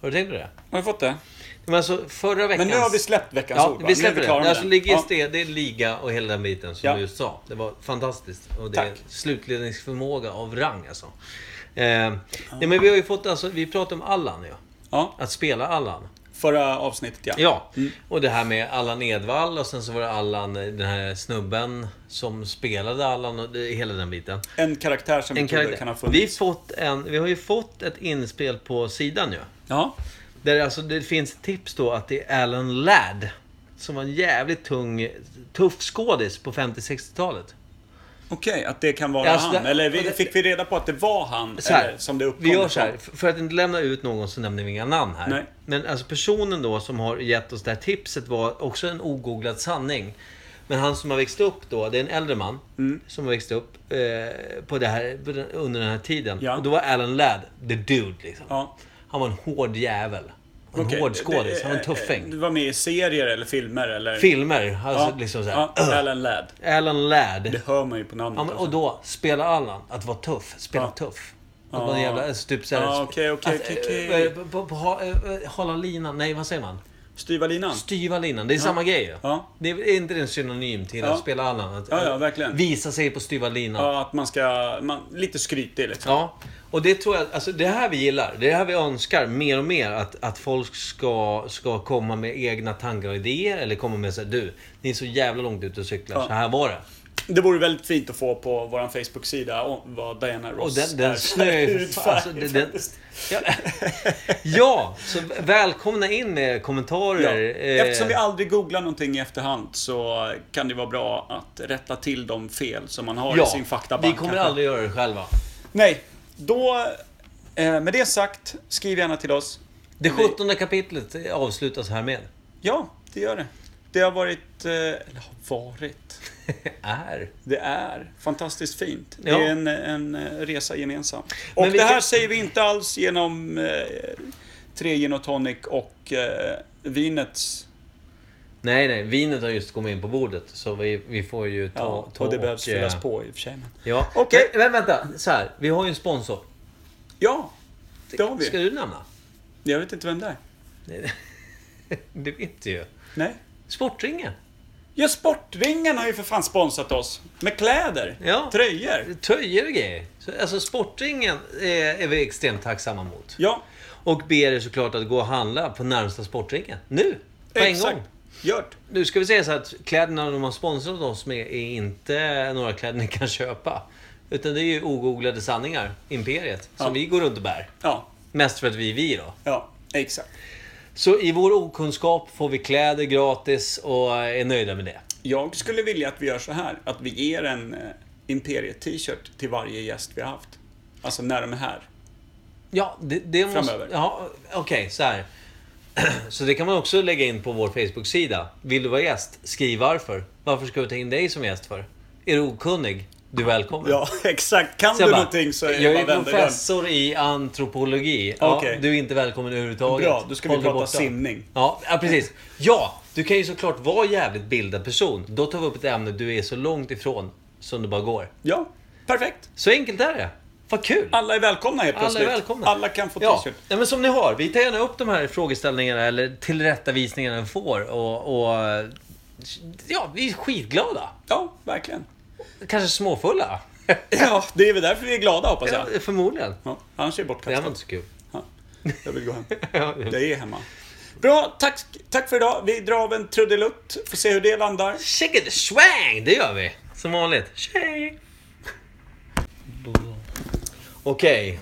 B: Har du tänkt på det?
A: Har vi fått det?
B: Men alltså förra veckans...
A: Men nu har vi släppt veckans
B: Ja,
A: ord va?
B: vi
A: nu är
B: släpper
A: klara
B: det.
A: med
B: Alltså,
A: den.
B: ligist
A: Ja.
B: är, det är liga och hela den biten som
A: Ja.
B: du just sa. Det var fantastiskt. Och det är
A: Tack.
B: slutledningsförmåga av rang alltså. Eh, nej, men vi har ju fått, alltså, vi pratade om Allan ja.
A: Ja,
B: Att spela Allan.
A: förra avsnittet ja.
B: Ja, och det här med Allan Edwall och sen så var det Allan, eh, den här snubben som spelade Allan och det, hela den biten.
A: En karaktär som
B: En
A: vi trodde
B: karaktär.
A: kan ha
B: Vi, har
A: funnits.
B: fått en, vi har ju fått ett inspel på sidan ju.
A: Ja.
B: Där alltså det finns tips då att det är Alan Ladd. Som var en jävligt tung, tuff skådis på 50-60-talet.
A: Okej, att det kan vara
B: Alltså,
A: han.
B: det-
A: Eller vi,
B: det-
A: fick vi reda på att det var han?
B: Så här,
A: eller, som det uppkom liksom?
B: vi gör så
A: ifrån?
B: här, f- för att inte lämna ut någon så nämner vi inga namn här.
A: Nej.
B: Men alltså personen då som har gett oss det här tipset var också en ogooglad sanning. Men han som har växt upp då, det är en äldre man
A: Mm.
B: som har växt upp eh, på det här, på den- under den här tiden.
A: Ja.
B: Och då var Alan Ladd the dude liksom.
A: Ja.
B: Han var en hård jävel. En
A: Okej,
B: hård
A: det-
B: skådis,
A: det- eh,
B: han var en tuffing.
A: Du var med i serier eller filmer eller?
B: Filmer, alltså
A: ja.
B: liksom såhär.
A: Ja, Alan Ladd.
B: Alan Ladd.
A: Det hör man ju på namnet.
B: Ja, men, och
A: alltså.
B: då, spela Allan. Att vara tuff. Spela
A: Ja.
B: tuff. Att vara en jävla... Alltså, typ såhär...
A: Ja, okej, okej,
B: att,
A: okej,
B: eh,
A: okej.
B: eh, på- på- ha- eh, eh, Hålla linan. Nej, vad säger man?
A: Styva linan.
B: Styva linan. Det är samma grej ju.
A: Ja.
B: Det är är inte det en synonym till
A: Ja.
B: att spela Allan? Att,
A: Ja, ja,
B: eh,
A: verkligen.
B: Visa sig på styva linan. Ja.
A: Ja, att man ska... Man, lite skrytig liksom.
B: Och det tror jag, alltså det här vi gillar. Det är det här vi önskar mer och mer. Att, att folk ska, ska komma med egna tankar och idéer. Eller komma med såhär, du, ni är så jävla långt ute och cyklar.
A: Ja.
B: Så här var det.
A: Det vore väldigt fint att få på vår Facebook-sida om vad Diana
B: Och
A: Ross
B: den, den
A: är.
B: snö
A: Hudfärg,
B: alltså, den, den,
A: faktiskt.
B: ja, ja, så välkomna in med
A: Ja.
B: kommentarer. eh,
A: Eftersom vi aldrig googlar någonting i efterhand så kan det vara bra att rätta till de fel som man har i sin faktabank.
B: Vi kommer
A: kanske.
B: aldrig göra det själva.
A: Nej, då... eh, Med det sagt, skriv gärna till oss.
B: Det
A: Vi-
B: 17 kapitlet avslutas härmed.
A: Ja, det gör det. Det har varit... eh, Eller har varit.
B: är.
A: Det är fantastiskt fint.
B: Ja.
A: Det är en, en eh, resa gemensamt. Och
B: Men vi
A: det här
B: kan-
A: säger vi inte alls genom eh, tre gin och tonic och eh, vinets...
B: Nej, nej. Vinet har just kommit in på bordet. Så vi, vi får ju ta...
A: Ja,
B: ta
A: och det behövs
B: eh,
A: fyllas på i och för sig. men-
B: Ja.
A: Okej.
B: Men, men vänta. Så här. Vi har ju en sponsor.
A: Ja, det har
B: Ska
A: vi.
B: du nämna?
A: Jag vet inte vem det är.
B: Nej, det vet du ju.
A: Nej.
B: Sportringen.
A: Ja, Sportringen har ju för fan sponsrat oss. Med kläder,
B: Ja.
A: tröjor.
B: Töjer och grejer. Så, Alltså Sportringen eh, är, är vi extremt tacksamma mot.
A: Ja,
B: Och ber er såklart att gå och handla på närmsta sportringen. Nu! På en
A: exakt.
B: gång.
A: Gjort.
B: Nu ska vi säga så här att kläderna de har sponsrat oss med är inte några kläder ni kan köpa. Utan det är ju ogooglade sanningar, Imperiet, som
A: Ja.
B: vi går runt och bär.
A: Ja,
B: Mest för att vi är vi då.
A: ja, exakt.
B: Så i vår okunskap får vi kläder gratis och är nöjda med det.
A: Jag skulle vilja att vi gör så här. Att vi ger en eh, Imperiet-t-shirt till varje gäst vi har haft. Alltså när de är här.
B: Ja, det, det måste...
A: Framöver.
B: Ja, Okej, så här. Så det kan man också lägga in på vår Facebook-sida. Vill du vara gäst? Skriv varför. Varför ska vi ta in dig som gäst för? Är du okunnig? Du är välkommen.
A: Ja, exakt. Kan
B: Sen
A: du
B: bara,
A: någonting så är
B: jag
A: bara
B: är
A: vänd dig runt.
B: professor i antropologi. Ja,
A: Okej.
B: Du är inte välkommen överhuvudtaget.
A: Bra, då ska vi
B: Håll dig
A: prata
B: borta.
A: simning.
B: Ja, ja, precis. Ja, du kan ju såklart vara jävligt bildad person. Då tar vi upp ett ämne du är så långt ifrån. som det bara går.
A: Ja, perfekt.
B: Så enkelt är det. Vad kul!
A: Alla är välkomna helt
B: Alla
A: plötsligt.
B: är välkomna.
A: Alla kan få
B: ja.
A: t-shirt.
B: Nej, men som ni har, vi tar gärna upp de här frågeställningarna eller tillrättavisningarna vi får. Och, och, ja, vi är skitglada.
A: Ja, verkligen.
B: Kanske småfulla.
A: Ja, det är väl därför vi är glada hoppas
B: Ja,
A: jag.
B: förmodligen.
A: Ja, annars är det
B: Det här var
A: bortkastat.
B: inte så kul.
A: Ja, jag vill gå hem.
B: Ja,
A: Jag är hemma. Bra, tack, tack för idag. Vi drar av en trudelutt. Får se hur det landar.
B: Shake it, swang! Det gör vi. Som vanligt. Shake. Okej.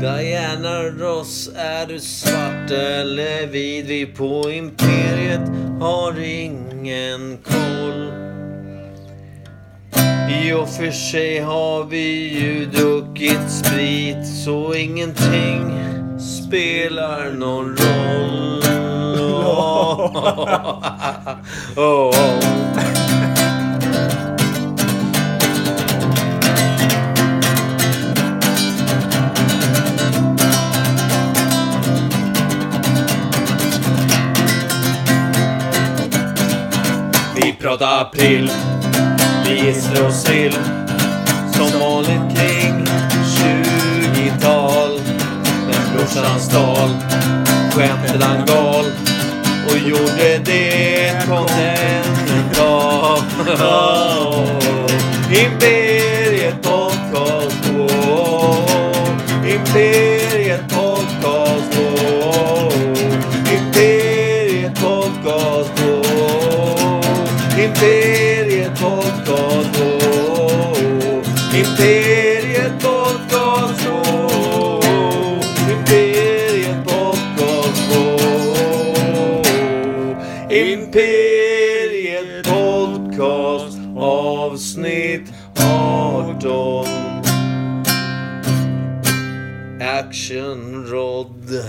B: Diana Ross, är du svart eller vit? Vi på Imperiet har ingen koll. I och för sig har vi ju druckit sprit så ingenting spelar någon roll. Oh, oh. Vi pratar april, vi gisslar och sill Som vanligt kring 20-tal Men brorsan stal skämten han gal och gjorde det kontinental Imperiet Podcast wow. Imperiet Podcast wow. Imperiet Podcast wow. Imperiet Podcast wow. Imperiet Podcast wow. Imperiet Podcast wow. Imperiet Podcast avsnitt 18 Action Rod